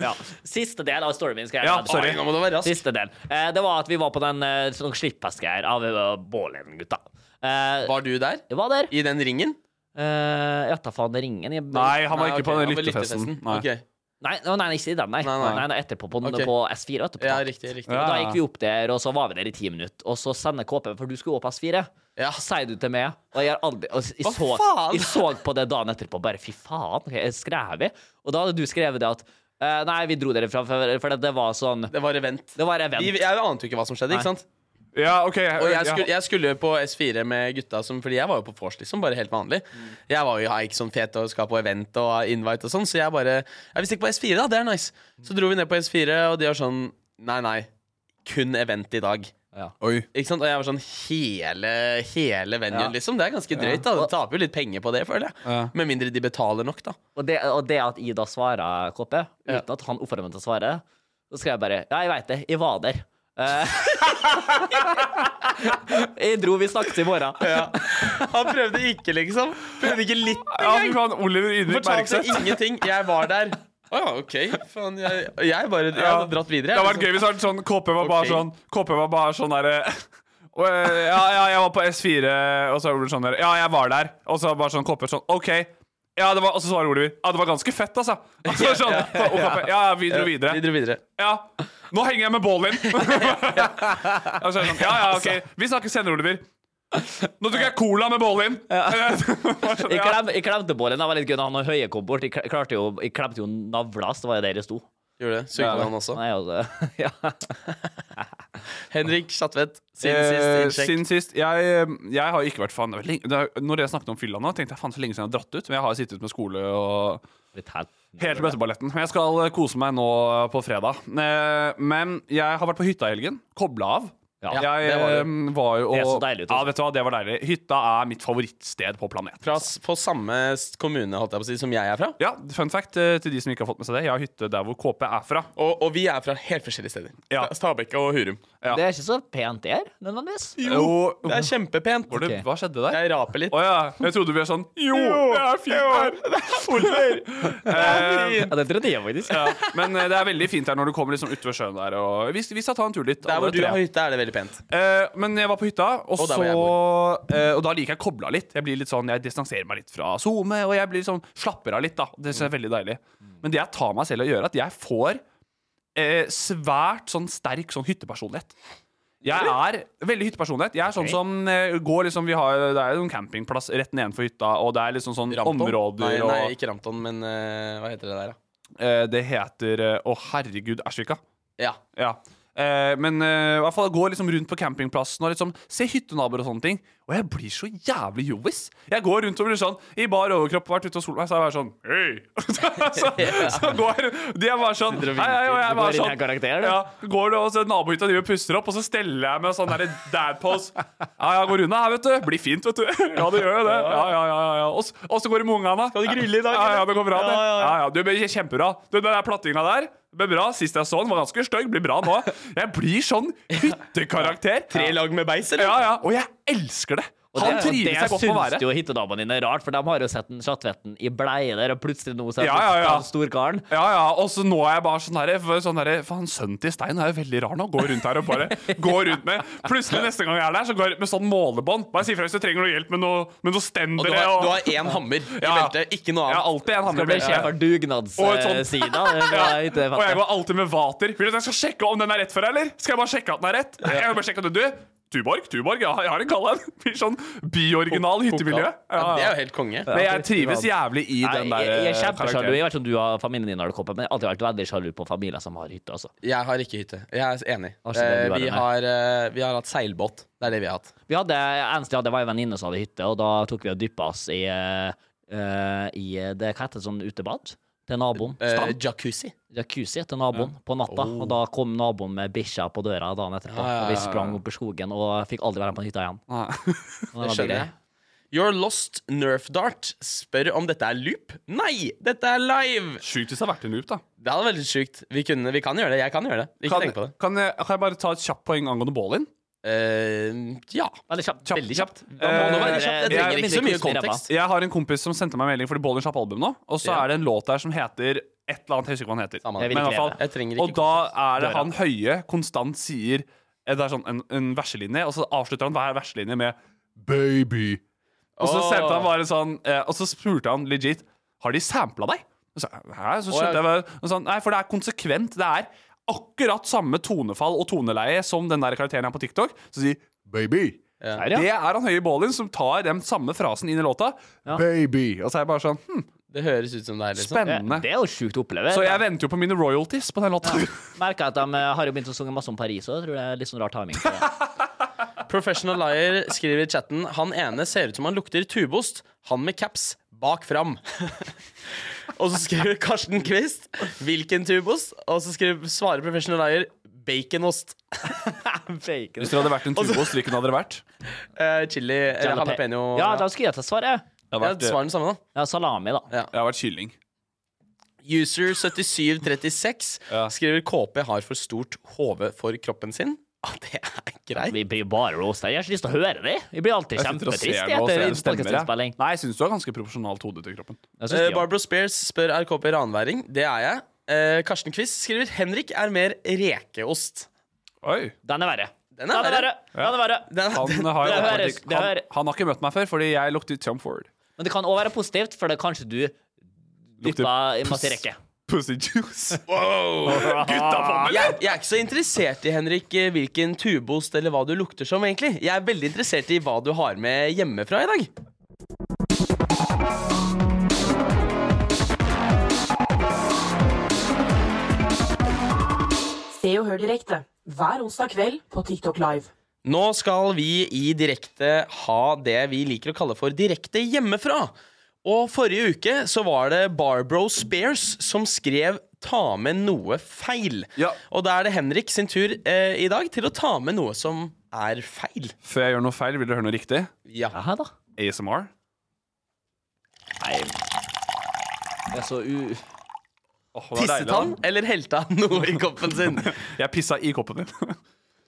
C: Ja. Siste del av storyen min skal jeg
B: Ja,
C: ta.
B: sorry.
A: Oi, nå må du være rask.
C: Siste del. Eh, det var at vi var på den eh, sånn slipphestgreier av uh, Bålen-gutta. Eh,
A: Var du der?
C: jeg var der.
A: I den ringen?
C: Eh, jeg tar faen ringen. Jeg,
B: (laughs) Nei, han var ikke
A: ok,
B: på den
A: han var
B: lyttefesten. Nei.
A: Ok.
C: Nei, å, nei, ikke i den, nei.
A: Nei, nei.
C: Nei, nei, etterpå på, den-
A: Ok.
C: på S4. Etterpå.
A: Ja, riktig. riktig
B: Ja.
C: Da gikk vi opp der, og så var vi der i ti minutter. Og så sender KP, for du skulle opp S4.
A: Ja.
C: Så sier du til meg, og jeg, har aldri, og jeg,
A: Hva
C: så,
A: faen?
C: jeg så på det dagen etterpå, bare fy faen, ok, skrev vi? Og da hadde du skrevet det at eh, Nei, vi dro dere fra, for, for det var sånn
A: Det var event.
C: Det var
A: Vi,
C: event.
A: jeg ante jo ikke hva som skjedde. ikke sant?
B: Ja, OK.
A: Og jeg skulle, jeg skulle på S4 med gutta, som, fordi jeg var jo på vors, liksom. Bare helt vanlig.
B: Mm.
A: Jeg var jo jeg er ikke sånn fet og skal på event og invite og sånn, så jeg bare Jeg vil stikke på S4, da. Det er nice.
B: Mm.
A: Så dro vi ned på S4, og de var sånn Nei, nei. Kun event i dag.
B: Oi.
A: Ikke sant? Og jeg var sånn Hele, hele venuen, liksom. Det er ganske drøyt, da. Du taper jo litt penger på det, føler jeg.
B: Ja.
A: Med mindre de betaler nok, da.
C: Og, det, og det at Ida svarer KP, uten at han oppfordrer meg til å svare, så skrev jeg bare Ja, jeg veit det. Jeg var der. Eh, (laughs) jeg dro, vi snakkes i morgen.
A: (laughs) Han prøvde ikke, liksom. Prøvde ikke litt
B: Ja, fy faen, Oliver Ydmyk
A: Fortalte
B: Bergseth.
A: ingenting. Jeg var der. Å ja, OK. Faen, jeg, jeg bare jeg
B: Ja.
A: hadde dratt videre.
B: Det
A: jeg,
B: hadde vært
A: liksom.
B: gøy hvis det hadde vært sånn KP var bare
A: Ok.
B: sånn KP var bare sånn derre (laughs) og, eh, ja, ja, jeg var på S4, og så er Oliver sånn der Ja, jeg var der. Og så bare sånn KP sånn OK. Ja, det var, Og så svarer Oliver Ja, det var ganske fett, altså. (laughs) altså sånn, og KP, ja, ja, vi dro videre.
A: Vi dro videre.
B: Ja. Nå henger jeg med Bolin. (laughs) Og så er det sånn, ja, ja, ok. Vi snakkes senere, Oliver. Nå tok jeg cola med Bolin. (laughs) Sånn,
C: Jeg,
B: ja.
C: klem, jeg klemte på den. Det var litt gøy da han og Høie kom bort. Jeg, kl- klarte jo, jeg klemte jo navla, så det var jo der jeg sto.
A: Gjorde det. Sugde han også.
C: Nei, altså, (laughs) ja.
A: Henrik Schatvedt, siden
B: Eh,
A: sist innsjekk.
B: Siden sist. Jeg, eh, jeg har ikke vært fan det er lenge- det er- Når jeg snakket om fylla nå, tenkte jeg faen så lenge siden jeg har dratt ut. Men jeg har sittet med skole og
C: Litt helt.
B: helt bøtteballetten. Men jeg skal eh, kose meg nå på fredag. Eh, Men jeg har vært på hytta i helgen. Kobla av.
C: Ja,
B: jeg
A: det var det.
B: eh, var jo
C: Det er så deilig ut,
B: Ja,
C: altså.
B: vet du hva, det var deilig. Hytta er mitt favorittsted på planeten.
A: Fra s- på samme s- kommune holdt jeg på å si, som jeg er fra.
B: Ja, fun fact eh, til de som ikke har fått med seg det. Jeg har hytte der hvor KP er fra.
A: Og, og vi er fra helt forskjellige steder.
B: Ja.
A: Stabekk og Hurum.
B: Ja.
C: Det er ikke så pent det her, nødvendigvis.
B: Jo, Oh.
A: Det er kjempepent.
B: Var det,
C: Ok.
B: Hva skjedde der?
A: Jeg raper litt.
B: Å ja. Jeg trodde vi var sånn Jo, det er fint her!
A: (laughs)
B: Oliver! Eh,
C: Ja, det trodde jeg faktisk.
B: ja. Men eh, det er veldig fint her når du kommer liksom ut ved sjøen der. Og vi, vi skal ta en tur dit.
A: Der
B: alle
A: hvor du
B: tre.
A: har hytte, er det veldig pent.
B: Eh, men jeg var på hytta, og,
A: Og der hvor
B: så
A: jeg
B: eh, Og da liker jeg kobla litt. Jeg blir litt sånn, jeg distanserer meg litt fra SoMe, og jeg blir sånn, slapper av litt. da Det synes jeg er veldig deilig.
A: Mm.
B: Men det jeg tar meg selv i å gjøre, at jeg får eh, svært sånn sterk sånn hyttepersonlighet. Jeg er veldig hyttepersonlighet. Jeg er sånn som eh, går liksom Vi har Det er jo en campingplass rett nedenfor hytta, og det er liksom sånn
A: Rampton.
B: områder
A: nei,
B: og
A: nei, ikke Rampton, men eh, hva heter det der, da?
B: eh, Det heter eh, Å, herregud, Ersvika.
A: Ja.
B: Ja. Eh, men eh, i hvert fall gå liksom rundt på campingplassen og liksom se hyttenaboer og sånne ting. Og jeg blir så jævlig jovis. Jeg går rundt og blir sånn i bar overkropp og vært ute og solt meg, så er jeg bare sånn Hei! (laughs) så, så går jeg rundt- De er bare sånn Hei, hei, og jeg
C: Du
B: er bare
C: går inn i en
B: sånn
C: karakter, du.
B: ja, går du og så nabohytta driver og pusser opp, og så steller jeg med sånn derre dad pose. Ja, ja, går unna her, vet du. Blir fint, vet du. (laughs) Ja, det gjør jo det. Ja, ja, ja, ja, ja. Og så- Og så går det med ungene. Skal
A: du grille i dag,
B: Ja, ja,
A: eller?
B: det går bra, det.
A: Ja, ja, ja.
B: Ja, ja, du blir kjempebra. Du, den der plattinga der ble bra. Sist jeg så den, var ganske stygg. Blir bra nå. Jeg blir sånn hyttekarakter.
A: (laughs) Tre lag med beis, eller?
B: Ja, ja. Og jeg elsker det.
C: Og
B: Han
C: det-
B: trives jeg godt med å
C: Og det syns
B: være.
C: jo hyttedamene dine er rart, for de har jo sett den Schatvetten i bleie der, og plutselig nå så er
B: Ja, ja, ja.
C: han storkaren.
B: Ja, ja, og så nå er jeg bare sånn derre for sånn der, Faen, sønnen til Stein er jo veldig rar nå. Går rundt her og bare
A: (laughs)
B: går rundt med Plutselig neste gang jeg er der, så går jeg rundt med sånn målebånd. Bare si fra hvis du trenger noe hjelp med noe, med noe
A: Og du
B: stendere
A: har,
B: og
A: du har én hammer i
B: (laughs) Ja.
A: beltet, ikke noe
B: Jeg har
A: annet.
B: alltid en hammer
C: Skal
B: i
C: bli
B: beltet.
C: sjef for
B: Og et sånt-
C: dugnadssida.
B: Ja. Og jeg går alltid med vater. Vil du at jeg skal sjekke om den er rett for deg, eller? Skal jeg bare sjekke at den er rett? Nei, jeg vil bare sjekke at du, Tuborg? Tuborg, ja, jeg har en kall en. Blir sånn byoriginal hyttemiljø. Ja,
A: Det er
B: ja.
A: jo helt konge.
B: Men jeg trives jævlig i den
C: Nei,
B: der
C: jeg, jeg er
B: eh,
C: kjempesjalu.
B: karakteren.
C: Jeg vet ikke om du har familien din har det koppet, men jeg har alltid vært veldig sjalu på familier som har hytte. Altså.
A: Jeg har ikke hytte. Jeg er enig.
C: Har ikke det
A: Eh,
C: du er
A: vi,
C: enig i?
A: har, eh, vi har hatt seilbåt. Det er det vi har hatt.
C: Vi hadde, eneste jeg hadde, var en venninne som hadde hytte, og da tok vi og dyppa oss i, eh, eh, i det, Hva heter det sånn utebad? Til naboen.
A: Eh, jacuzzi.
C: Jacuzzi til naboen på natta, og da kom naboen med bikkja på døra dagen etterpå.
A: ja,
C: Og vi sprang opp i skogen og fikk aldri være med på hytta igjen. Så
A: Det
C: var
A: skjønner
C: grei.
A: jeg. Your Lost Nerf Dart spør om dette er loop. Nei, dette er live!
B: Sjukt hvis det har vært en loop, da.
A: Det hadde vært veldig sjukt. Vi, kunne, vi kan gjøre det. Jeg kan gjøre det. Ikke
B: Kan,
A: tenk på
B: kan,
A: det.
B: jeg, kan jeg bare ta et kjapt poeng angående Ballin?
A: Eh, ja.
C: Veldig kjapt.
B: Kjapt,
C: Veldig kjapt.
B: kjapt.
C: Da må
B: Eh,
C: det
A: Jeg
C: være kjapt. Jeg
A: trenger
C: trenger
A: ikke så mye
C: mindre kuss i ræva.
A: kontekst.
B: Jeg har en kompis som sendte meg en melding fordi Ballin slapp album nå. Og så
A: Ja.
B: er det en låt der som heter et eller annet, jeg husker ikke hva den heter.
A: Samme.
C: Jeg vil
B: Men i
C: ikke
B: hvert fall-
C: leve.
A: Jeg trenger ikke
B: Og da er det han høye konstant sier eh, Det er sånn en, en verselinje, og så avslutter han hver verselinje med 'baby'. Og så
A: Åh.
B: sendte han bare sånn eh, Og så spurte han legit Har de sampla deg. Og så, Hæ? så
A: Åh,
B: skjønte
A: ja.
B: jeg bare, og sånn, Nei, for det er konsekvent. Det er akkurat samme tonefall og toneleie som den der karakteren her på TikTok. Så sier 'baby'.
C: Der, ja.
B: Det er han høye Ballin som tar den samme frasen inn i låta. 'Baby'. Og så er jeg bare sånn hm,
A: Det høres ut som det er liksom.
B: Spennende.
C: Det er jo sjukt å oppleve.
B: Så jeg venter jo på mine royalties på den låta.
C: Merker at de eh, har jo begynt å synge masse om Paris, og jeg tror det er litt sånn rar timing. på det.
A: Professional Liar skriver i chatten Han ene ser ut som han lukter tubost. Han med caps bak fram. (laughs) og så skriver Karsten Kvist hvilken tubost? Og så skriver, svarer Professional Liar baconost.
B: (laughs)
C: Bacon.
B: Hvis dere hadde vært en tubost, hvilken hadde dere vært?
A: Eh, chili eller jalapeño.
C: Ja, da skulle jeg til svaret.
B: Jeg
A: Ja, Svar den samme, da.
C: Ja, salami, da.
B: jeg har vært kylling.
A: User7736 skriver KP har for stort hode for kroppen sin. (laughs) Ah, det er greit.
C: Vi blir bare roast her. Jeg har ikke lyst til å høre det. Vi blir alltid
B: Jeg sitter og ser
C: kjempetrist
B: nå, så
C: etter
B: jeg stemmer, jeg.
C: podkastinnspilling.
B: Nei, jeg syns du har ganske proporsjonalt hode til kroppen.
A: Eh, Barbro Spears spør er KP ranværing. Det er jeg. Eh, Karsten Kvist skriver Henrik er mer rekeost.
B: Oi.
C: Den er verre.
A: Den er verre.
C: Den er verre.
A: Den,
B: Han har, jo
C: Det
B: åpenbart
C: høres-
B: ikke-
C: det
B: han,
C: høres-
B: han har ikke møtt meg før, fordi jeg lukter Tom Ford.
C: Men det kan òg være positivt, for det er kanskje du dyppa i masse rekke.
B: Pussy juice. Gutta på meg!
A: jeg, jeg er ikke så interessert i Henrik eh, hvilken tubost eller hva du lukter som. egentlig Jeg er veldig interessert i hva du har med hjemmefra i dag.
D: Se og hør direkte hver onsdag kveld på TikTok Live.
A: Nå skal vi i direkte ha det vi liker å kalle for direkte hjemmefra. Og forrige uke så var det Barbro Spears som skrev 'ta med noe feil'.
B: Ja.
A: Og da er det Henrik sin tur eh, i dag til å ta med noe som er feil.
B: Før jeg gjør noe feil, vil dere høre noe riktig?
A: Ja.
C: Hæ, da?
B: ASMR.
C: Nei Det er så u...
B: Åh, det var deilig,
A: Tisset
B: da.
A: han, eller helte han noe i koppen sin?
B: Jeg pissa i koppen din. (laughs)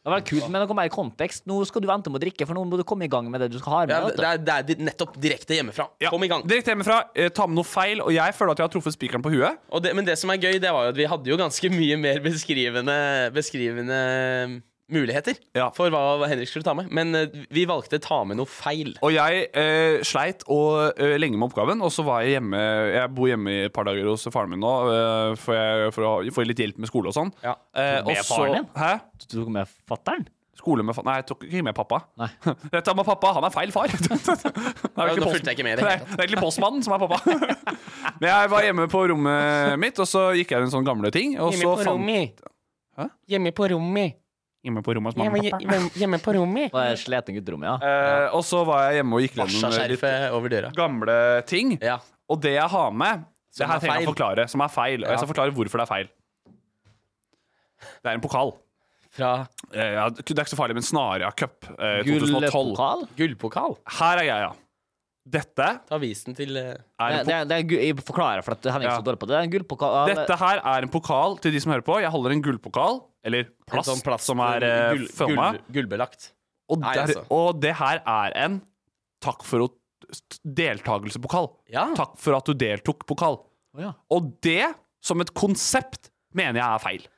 C: Det var kult med noe mer kontekst. Nå skal du vente med å drikke, for nå må du komme i gang med det du skal ha med.
A: Ja,
C: vet du.
A: det, er, det er di- nettopp direkte hjemmefra.
B: Ja.
A: Kom i gang.
B: Direkte hjemmefra. Eh, ta med noe feil, og jeg føler at jeg har truffet spikeren på huet.
A: Og det, men det som er gøy, det var jo at vi hadde jo ganske mye mer beskrivende, beskrivende eh, muligheter
B: Ja.
A: for hva hva Henrik skulle ta med. Men eh, vi valgte å ta med noe feil.
B: Og jeg eh, sleit og, eh, lenge med oppgaven, og så var jeg hjemme Jeg bor hjemme i et par dager hos faren min nå, eh, for, jeg, for å ha- få litt hjelp med skole og sånn.
A: Ja.
B: Eh,
C: Med
B: og så-
C: faren din?
B: Hæ?
C: Du tok med fatter'n?
B: Skole med fa Nei, jeg tok ikke med pappa.
C: Nei.
B: Jeg tar med pappa, han er feil far. (laughs) det er
A: Ja,
B: egentlig
A: nå
B: post-
A: fulgte jeg ikke med i det
B: Nei,
A: hele
B: det er egentlig postmannen som er pappa. (laughs) Men jeg var hjemme på rommet mitt, og så gikk jeg i en sånn gamle ting. Og så fant Hæ?
A: Hjemme på rommet.
B: Hjemme på rommet hos mamma og pappa.
A: Hjemme på rommet.
C: På det sleten gutterommet, ja.
B: Eh, og så var jeg hjemme og gikk gjennom eh, litt
A: Asja-skjerfet over døra.
B: gamle ting.
A: Ja.
B: Og det jeg har med,
A: Som
B: det her
A: er
B: trenger jeg å
A: feil.
B: forklare, som er feil. Og
A: Ja.
B: jeg skal forklare hvorfor det er feil. Det er en pokal.
A: Fra
B: Eh, ja, det er ikke så farlig, men Snaria Cup eh, 2012.
C: Gullpokal?
A: gullpokal.
B: Her er greia. Dette
A: Ta avisen til eh,
B: er
C: Det,
B: en
C: det, det er, gu- jeg forklarer, for at Henrik er
B: Ja.
C: så dårlig på det. Det er en gullpokal
A: eh,
B: Dette her er en pokal til de som hører på. Jeg holder en gullpokal, eller plast,
A: en sånn plast-
B: som er eh,
A: gull-
B: forma.
A: gull- Gullbelagt.
B: Og,
A: Nei,
B: der-
A: altså.
B: og det her er en takk for å- deltakelsepokal.
A: Ja.
B: Takk for at du deltok-pokal.
C: Å, ja.
B: Og det, som et konsept, mener jeg er
A: (laughs)
B: feil.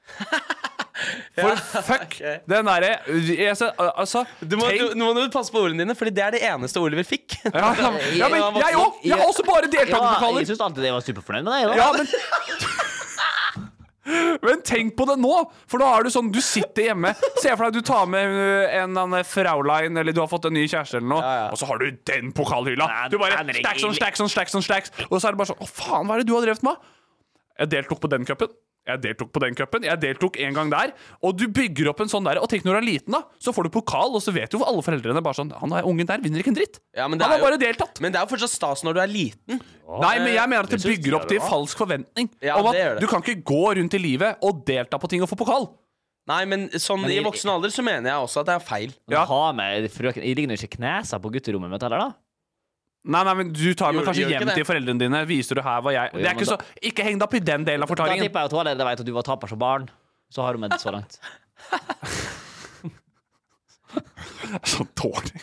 B: For fuck den derre altså, altså,
A: Du må,
B: tenk-
A: du, nå må du passe på ordene dine, Fordi det er det eneste Oliver fikk.
B: ja, ja, ja, men jeg òg! Jeg har også bare
C: Ja,
B: deltakerpokaler!
C: jeg syns alltid jeg var superfornøyd med deg. da.
B: Ja, men Men tenk på det nå! For da er du sånn, du sitter hjemme. Se for deg du tar med ø, en eller annen Fraulein, eller du har fått en ny kjæreste, eller noe, og så har du den pokalhylla!
C: Nei,
B: Du bare
C: den er
B: stacks on
C: ille.
B: stacks on stacks on stacks, og så er det bare sånn Å, faen, hva er det du har drevet med? Jeg deltok på den cupen. Jeg deltok på den cupen. Jeg deltok en gang der. Og du bygger opp en sånn der. Og tenk når du er liten, da. Så får du pokal, og så vet jo alle foreldrene bare sånn Han der ungen der vinner ikke en dritt.
A: (laughs) Ja, men det
B: Han
A: er
B: har bare
A: jo-
B: deltatt.
A: Men det er jo fortsatt stas når du er liten.
B: Nei, men jeg mener at det
C: synes
B: bygger
C: jeg
B: opp
C: Eh, det
B: til
C: var.
B: falsk forventning.
A: Ja,
B: om
A: det gjør
B: at
A: det.
B: du kan ikke gå rundt i livet og delta på ting og få pokal.
A: Nei, men sånn i voksen alder så mener jeg også at det er feil.
B: Ja.
C: Ha med frøken Jeg ligner ikke knesa på gutterommet mitt heller, da.
B: Nei, nei, men Du tar med
A: Gjør-
B: kanskje
A: gjør ikke
B: hjem
A: det.
B: til foreldrene dine. Viser du her hva jeg
C: Jo,
B: Det er
C: men
B: ikke
C: da-
B: så Ikke heng deg opp i den delen av
C: Da tipper
B: forklaringen.
C: jeg at hun allerede vet at du var taper som barn. Så har hun med det så langt.
B: (laughs) Så dårlig.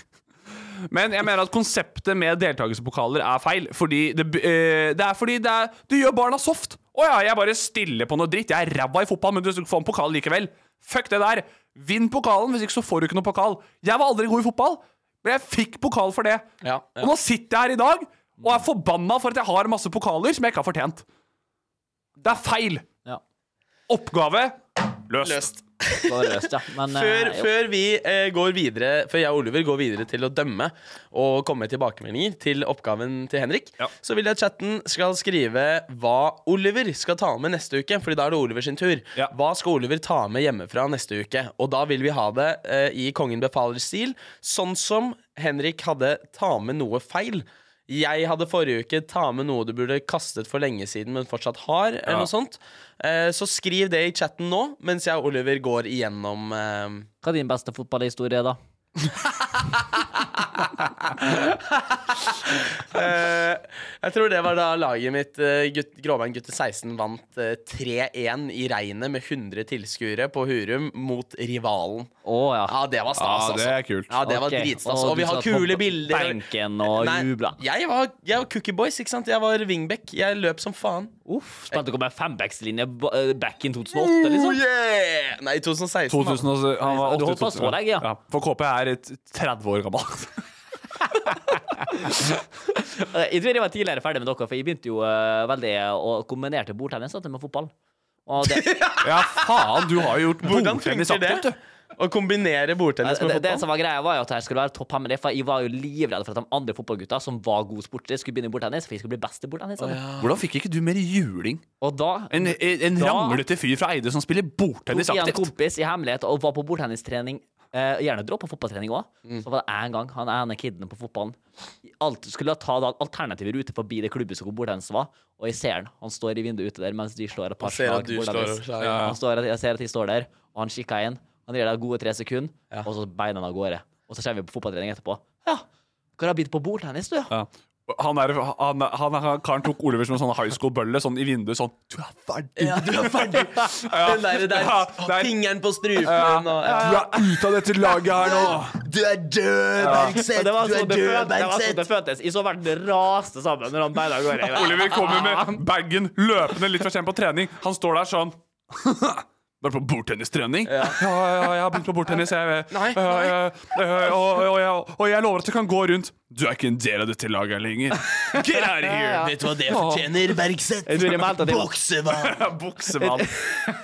B: Men jeg mener at konseptet med deltakelsepokaler er feil. Fordi det, b- eh, det er fordi det er Du gjør barna soft. Å ja, jeg bare stiller på noe dritt. Jeg er ræva i fotball, men du skal få en pokal likevel. Fuck det der. Vinn pokalen, hvis ikke så får du ikke noe pokal. Jeg var aldri god i fotball, men jeg fikk pokal for det.
A: Ja, ja.
B: Og nå sitter jeg her i dag og er forbanna for at jeg har masse pokaler som jeg ikke har fortjent. Det er feil.
C: Ja.
B: Oppgave løst.
A: Løst.
C: Så var det løst, ja. Men eh,
A: Før,
C: jo.
A: før vi eh, går videre Før jeg og Oliver går videre til å dømme og komme med tilbakemeldinger til oppgaven til Henrik,
B: Ja.
A: så vil jeg at chatten skal skrive hva Oliver skal ta med neste uke. Fordi da er det Oliver sin tur.
B: Ja.
A: Hva skal Oliver ta med hjemmefra neste uke? Og da vil vi ha det eh, i Kongen befaler-stil, sånn som Henrik hadde ta med noe feil. Jeg hadde forrige uke ta med noe du burde kastet for lenge siden, men fortsatt har. eller noe sånt eh, Så skriv det i chatten nå, mens jeg og Oliver går igjennom eh,
C: Hva er din beste fotballhistorie, da?
A: Eh, jeg tror det var da laget mitt, eh, gutt, Gråbein gutter 16, vant eh, 3-1 i regnet med 100 tilskuere på Hurum mot rivalen.
C: Å ja.
A: Ja, det var stas,
B: Ja,
A: altså.
B: det er kult.
A: Ja, det var
C: Ok.
A: dritstas.
C: Og
A: Og vi
C: du
A: har
C: satt på
A: kule bilder.
C: benken og
A: Nei,
C: jubla.
A: Jeg var, jeg var Cookie Boys, ikke sant? Jeg var wingback. Jeg løp som faen.
C: Uff, spente å komme med fembackslinje ba- eh, back in 2008,
A: Oh,
C: liksom.
A: yeah! Nei, 2016. da.
B: 2000 og, han var
C: Du holdt på
B: 80
C: så lenge, ja.
B: For KP er et 30 år
A: (laughs)
B: gammel.
C: Eh, Jeg tror jeg var tidligere ferdig med dere, for jeg begynte jo eh, veldig og kombinerte bordtennis da, med fotball. Og det, det,
B: ja, faen, du har jo gjort
A: Hvordan
B: bordtennis
A: funker
B: aktivt,
A: det?
B: du.
A: Å kombinere bordtennis med
C: Eh, det, det
A: fotball?
C: som var greia, var jo at jeg skulle være topp hemmelig, for jeg var jo livredd for at de andre fotballgutta som var gode sportere, skulle begynne i bordtennis, for jeg skulle bli best i bordtennis.
B: Hvordan fikk ikke du mer juling?
C: Og da
B: En, en
C: Da-
B: ramlete fyr fra Eide som spiller
C: tok
B: bordtennis
C: jeg en
B: aktivt.
C: kompis i hemmelighet og var på bordtennistrening. Eh, gjerne droppa fotballtrening òg.
A: Mm.
C: Så var det én gang han ene kiden på fotballen alt, skulle ta da alternative ruter forbi det klubbhuset hvor bordtennis var, og jeg ser han. Han står i vinduet ute der mens de slår et par
A: Jeg ser
C: slag.
A: at du
C: bordtennis.
A: slår slag.
C: Han står, jeg ser at de står der, og han kikker inn. Han gir deg gode tre sekunder, og så beina han av gårde. Og så kommer vi på fotballtrening etterpå. Ja, hva har du bitt på bordtennis, du? Ja.
B: Ja. Han, er, han, han, han karen tok Oliver som en sånn high school-bølle sånn i vinduet sånn Du er ferdig!
A: Ja, du er (laughs) ferdig. Den der, der
B: Ja,
A: å,
B: der.
A: fingeren på strupen og ja.
B: Du er ute av dette laget her nå!
E: Du er død, Bergseth!
C: Det var
E: Du er
C: sånn det
E: død,
C: fø- det var
E: Bergseth!
C: sånn det fødtes. Jeg så verden raste sammen når han beina
A: (laughs)
C: av gårde.
B: Oliver kommer med bagen løpende litt for sent på trening. Han står der sånn (laughs) Bare på bordtennistrening? Ja. Ja, ja, jeg har begynt på bordtennis. Jeg,
A: Nei,
B: Ja, ja, ja, og, og, jeg- og jeg lover at du kan gå rundt. Du er ikke en del av dette laget lenger. Get out of here!
A: Vet du hva det
E: Tjener Bergseth!
C: Jeg tror jeg meldte at jeg var-
B: uh,
E: Buksevann!
B: Buksevann.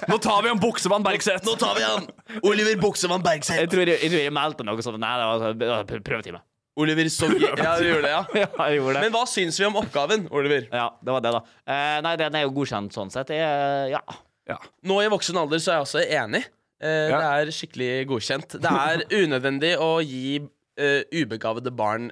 B: Nå tar vi en buksevann, Bergseth.
E: Nå tar vi han! Oliver Buksevann
C: Jeg
E: Bergseth!
C: tror jeg, jeg, tror jeg meldte noe sånt. Nei, det var- det var pr-
B: (laughs)
C: prøvetime.
A: Oliver så Ja, du gjorde det, ja.
C: Ja, jeg gjorde
A: Men hva syns vi om oppgaven, Oliver?
C: ja, det var det, da. Eh, nei, den er jo godkjent sånn sett. Jeg, eh, ja.
B: Ja.
A: Nå i voksen alder så er jeg også enig. Eh, Det
B: Ja.
A: er skikkelig godkjent. Det er
B: (laughs)
A: unødvendig å gi eh, ubegavede barn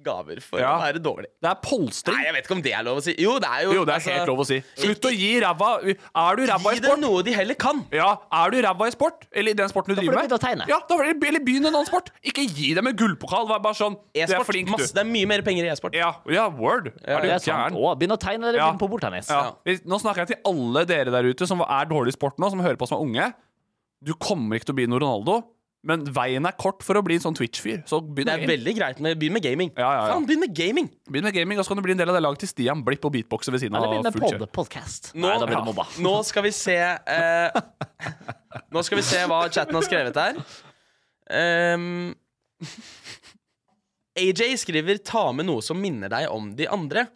A: gaver for
B: Ja.
A: å være dårlig.
B: Det er polstring.
A: Nei, jeg vet ikke om det er lov å si. Jo, det er jo
B: Jo, det er
A: altså,
B: helt lov å si. Slutt å gi ræva Er du ræva i
A: Gi dem
B: sport?
A: noe de heller kan.
B: Ja, er du ræva i sport? Eller i den sporten du
C: får du
B: driver med?
C: begynne å tegne.
B: Ja, da får du- Eller begynn en annen sport. Ikke gi dem en gullpokal. Vær bare sånn Du er
A: E-sport,
B: flink,
A: masse-
B: du.
A: det er mye mer penger i e-sport.
B: Ja, ja word. Er du
C: Det er sant.
B: gæren?
C: Å, begynn å tegne eller
B: Ja.
C: begynn på bordtennis.
B: Ja. Vi- Nå snakker jeg til alle dere der ute som er dårlige i sport nå, som hører på som er unge. Du kommer ikke til å bli noe Ronaldo, men veien er kort for å bli en sånn Twitch-fyr. Så
A: Det
B: begynn med
A: er
B: gaming.
A: veldig greit med Begynn med gaming.
B: Ja, ja, ja.
A: Faen, begynn med gaming.
B: Begynn med gaming, og så kan du bli en del av det laget til Stian Blipp og beatboxer ved siden av.
C: Eller begynn med
B: full kjør.
C: pod podcast.
A: Nå,
C: nei, da blir du mobba.
A: nå skal vi se eh, Nå skal vi se hva chatten har skrevet her. Ehm, AJ skriver 'ta med noe som minner deg om de andre'.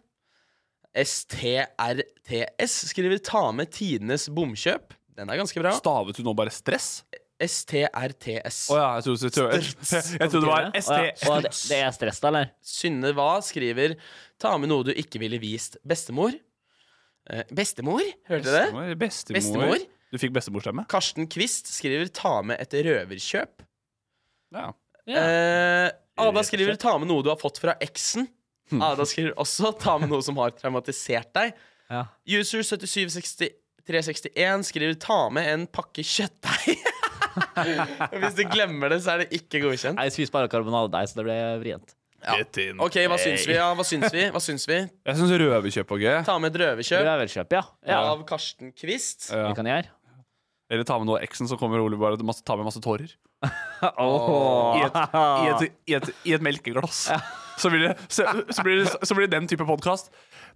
A: STRTS skriver 'ta med tidenes bomkjøp'. Den er ganske bra.
B: Stavet du nå bare stress?
A: STRTS.
B: Å ja, jeg trodde, jeg trodde, jeg, (laughs) (laughs) jeg trodde det var
C: Å ja.
B: ST...
C: Å, det, det er stress, da, eller?
A: Synne Hva skriver 'ta med noe du ikke ville vist bestemor'. Eh, bestemor? Hørte dere det?
B: Bestemor.
A: Bestemor?
B: Du fikk bestemorstemme?
A: Karsten Kvist skriver 'ta med et røverkjøp'.
B: Ja.
A: Eh, Ada skriver 'ta med noe du har fått fra eksen'.
C: Hmm.
A: Ada skriver også 'ta med noe som har traumatisert deg'.
C: Ja.
A: User 776361 skriver 'ta med en pakke kjøttdeig'. (laughs) Hvis du glemmer det, så er det ikke godkjent.
C: Jeg spiser bare karbonadedeig, så det ble vrient.
B: Rett inn.
A: Ok, Hva syns vi? Ja, hva syns vi? Hva syns vi?
B: Jeg syns røverkjøp var gøy.
A: Ta med et
C: Det
A: røverkjøp
C: er velkjøp, ja. ja.
A: av Karsten Kvist.
B: Ja.
C: Det kan jeg gjøre.
B: Eller ta med noe av eksen, så kommer Ole bare og masse- ta med masse tårer.
C: Åh.
B: I et,
A: (laughs)
B: i et, i et, i et melkeglass. Så blir, det, så, så, blir det, så blir det den type podkast.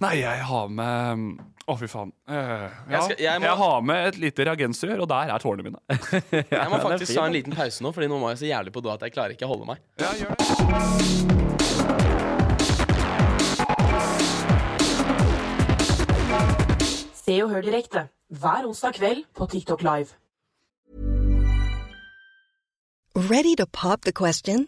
B: Nei, jeg har med Å, fy faen. Eh, ja.
A: Jeg
B: jeg,
A: skal- jeg må-
B: har med et lite reagensrør, og der er tårene mine.
A: Jeg
B: (laughs)
A: må
C: den er
A: faktisk
C: fin,
A: ta en
C: da.
A: liten pause nå, Fordi nå må jeg så jævlig på do at jeg klarer ikke å holde meg.
B: Ja, gjør det.
D: Se og hør direkte hver onsdag kveld på TikTok Live.
F: Ready to pop the question?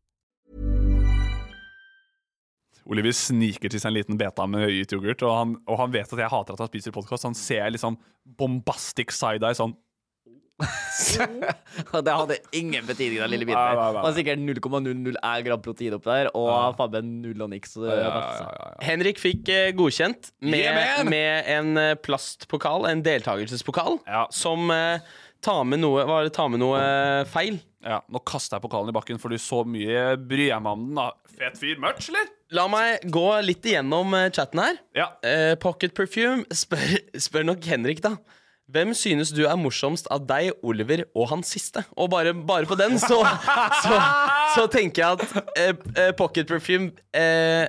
B: Oliver sniker til seg en liten beta med høyet yoghurt, og han, og han vet at jeg hater at han spiser podkast. Han ser litt sånn bombastic side-eye sånn.
C: Og (laughs) Det hadde ingen betydning, den lille biten
B: Nei,
C: der.
B: nei, nei,
C: Det var sikkert 0,001 gram protein oppi der, og faen meg null og niks.
B: Ja, ja, ja, ja, ja.
A: Henrik fikk eh, godkjent med,
B: Yeah, man!
A: med en eh, plastpokal, en deltakelsespokal,
B: Ja.
A: som eh, tar med noe, var det, tar med noe eh, feil.
B: Ja, nå kaster jeg pokalen i bakken, fordi så mye bryr jeg meg om den. da Fet fyr. Merch, eller?
A: La meg gå litt igjennom eh, chatten her.
B: Ja.
A: Eh, Pocket Perfume spør, spør nok Henrik, da. Hvem synes du er morsomst av deg, Oliver og han siste? Og bare, bare på den, så, så, så tenker jeg at eh, eh, Pocket Perfume eh,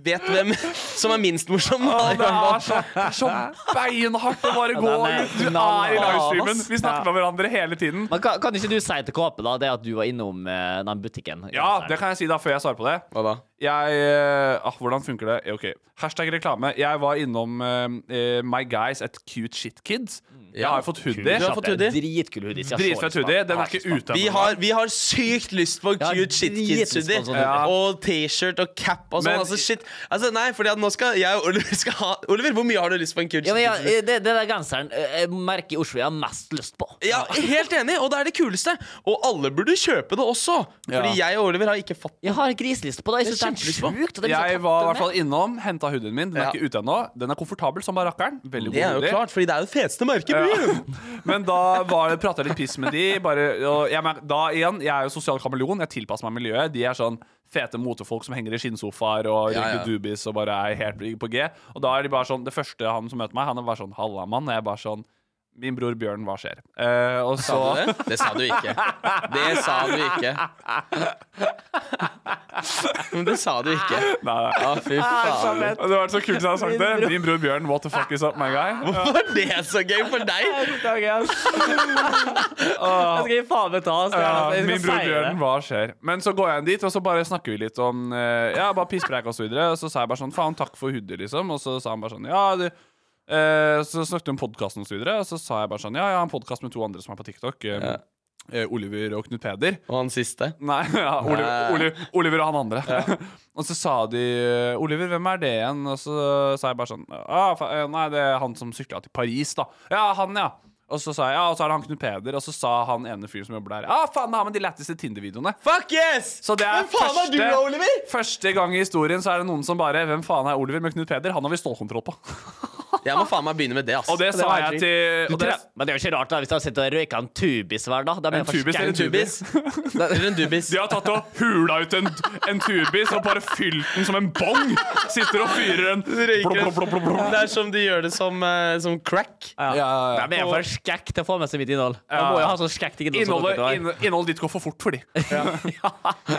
A: vet hvem som er minst morsom.
B: Det er så, det er så beinhardt å bare gå
C: den er
B: ut. Du er i
C: knallhard,
B: livestreamen.
C: ass.
B: Vi snakker med hverandre hele tiden.
C: Men kan, kan ikke du si til Kåpe da, det at du var innom eh, den butikken?
B: Ja, det kan jeg si da før jeg svarer på det.
A: Hva da?
B: Jeg eh, ah, Hvordan funker det? Eh, Ok. Hashtag reklame. Jeg var innom eh, eh, My Guys at Cute Shit Kids. Jeg har fått hoodie.
A: Mm. Du har fått hoodie.
C: Dritkul hoodies. jeg så
B: Dritfett
C: lyst på
B: hoodie.
C: den.
B: Den
C: Jeg
B: er ikke
C: så lyst på
B: ute
C: den.
A: Vi har, vi har sykt lyst på
C: Ja,
A: cute shit kids
C: dritlyst på en sånn
A: hoodie.
C: hoodie.
A: Og T-shirt og cap og sånn.
B: Men-
A: Altså, shit. Altså, nei, fordi at nå skal jeg og Oliver (laughs) skal ha Oliver, hvor mye har du lyst på en cute
C: Ja, men
A: shit
C: ja, eh,
A: kids hoodie?
C: det, det der genseren eh, jeg merker i Oslo jeg har mest lyst på.
A: Ja, helt enig, og det er det kuleste. Og alle burde kjøpe det også. Fordi jeg og Oliver har ikke fått
C: Jeg har griselyst på det. Jeg
A: Det er
C: synes det er sjukt.
A: kjempelyst på.
C: og det blir så
B: Jeg
C: tatt
B: var i
C: med.
B: hvert fall innom, henta hoodien min. Den er
A: liksom Ja.
B: ikke ute ennå. Den er komfortabel som bare rakkeren. Veldig
A: Det er
B: god
A: jo
B: hoodie.
A: klart, fordi det er jo det feteste merket i byen.
B: (laughs) Men da var det- pratet jeg litt piss med de. Bare, og jeg, mer- da igjen, jeg er jo sosial kameleon. Jeg tilpasser meg miljøet. De er sånn fete motefolk som henger i skinnsofaer og
A: Ja,
B: rygger
A: ja.
B: dubis og bare er helt på G. Og da er de bare sånn Det første han som møter meg, han er bare sånn 'halla, mann'. Og jeg er bare sånn Min bror Bjørn, hva skjer? Eh, og
A: (laughs) Sa
B: så
A: du det? Det sa du ikke. Det sa du ikke. Men det sa du ikke.
B: Nei, nei.
A: Å, fy
C: Ah,
A: faen.
B: Det hadde vært så kult hvis jeg hadde sagt det. Min bror Bjørn, what the fuck is up, my guy?
A: Hvorfor er det så gøy for deg?
C: Takk, ass. Jeg skal gi faen meg ta ass. Jeg
B: Ja,
C: skal- jeg skal
B: min bror
C: si
B: Bjørn,
C: det.
B: hva skjer? Men så går jeg inn dit, og så bare snakker vi litt om eh, Ja, bare pisspreik og så videre. Og så sa jeg bare sånn Faen, takk for hoodie, liksom. Og så sa han bare sånn Ja, du eh, Så snakket vi om podkasten og så videre, og så sa jeg bare sånn Ja, jeg har en podkast med to andre som er på TikTok. eh, eh, Oliver og Knut Peder.
A: Og han siste.
B: Nei, (laughs) ja, Oliver,
A: Nei.
B: Oliver, Oliver og han andre. (laughs) og så sa de 'Oliver, hvem er det igjen?' Og så sa jeg bare sånn ah, fa eh, 'Nei, det er han som sykla til Paris, da'. 'Ja, han, ja'. Og så sa jeg, ja, og så er det han Knut Peder, og så sa han ene fyren som jobber der Ja, faen, han har med de lætteste Tinder-videoene.
A: Fuck yes!
B: Så det er
A: Hvem faen er du da, Oliver?
B: første gang i historien så er det noen som bare 'Hvem faen er Oliver?' Men Knut Peder, han har vi stålkontroll på.
A: Jeg må faen meg begynne med det, ass.
B: Og det, sa
C: var
B: jeg
C: helt
B: til
C: Du
B: og det,
C: tre- Men det er jo ikke rart da hvis de har sittet og røyka en tubis hver dag. De er
B: En
C: for
B: tubis, det er en
C: skau-
A: Tubis.
B: (laughs)
A: Eller en dubis.
B: De har tatt og hula ut en, en tubis og bare fylt den som en bong. Sitter og fyrer en blop, blop, blop, blop, blop.
A: Det er som de gjør det som, eh, som crack.
C: Ja.
B: Ja, ja, ja.
C: De er for skekk til å få med seg mitt innhold. De må jo ha sånn skekk til innhold. som
B: Innholdet,
C: dere har.
B: inn, innholdet ditt går for fort for de. (laughs) eh,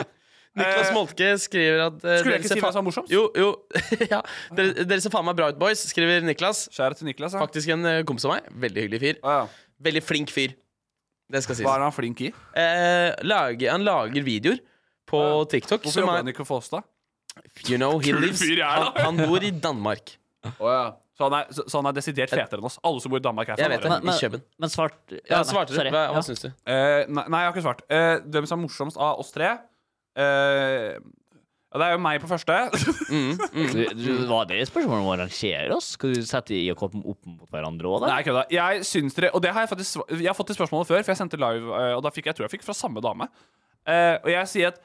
A: Niklas Moltke skriver at eh,
B: Skulle jeg
A: dere
B: ikke
A: ser
B: si
A: fa-
B: det som var morsomst?
A: Jo, jo. (laughs) ja. dere, dere ser faen meg bra ut, boys, skriver Niklas.
B: Kjære til Niklas. Ja.
A: Faktisk en eh, kompis av meg. Veldig hyggelig fyr.
B: Ja, ja.
A: Veldig flink fyr. Det skal
B: Hva
A: sies.
B: er han flink i?
A: Eh, lager, han lager videoer på
B: Ja.
A: TikTok
B: Hvorfor
A: som
B: jobber
A: er
B: han ikke for oss, da?
A: You know, he
B: (laughs) Kul
A: lives
B: fyr jeg er,
A: han,
B: da.
A: han bor i Danmark.
B: Så, han er, så, så han er desidert fetere enn oss. Alle som bor i Danmark, er
A: Jeg vet
B: fetere.
A: det.
C: Men- men-
A: I Køben.
C: Men svart
A: Ja,
C: nei,
A: svarte du?
C: sorry.
A: Hva, hva
C: Ja.
A: syns du?
B: Eh, nei, nei, jeg har ikke svart. Eh, hvem som er morsomst av oss tre? Eh, ja, det er jo meg på første. (laughs)
C: Du, du, var det spørsmålet om å arrangere oss? Skal du sette i og koppen opp mot hverandre òg,
B: nei,
C: da?
B: jeg kødda. Jeg syns dere Og det har jeg faktisk sva- Jeg har fått det spørsmålet før, for jeg sendte live, eh, og da fikk jeg tror jeg fikk fra samme dame. Eh, og jeg sier at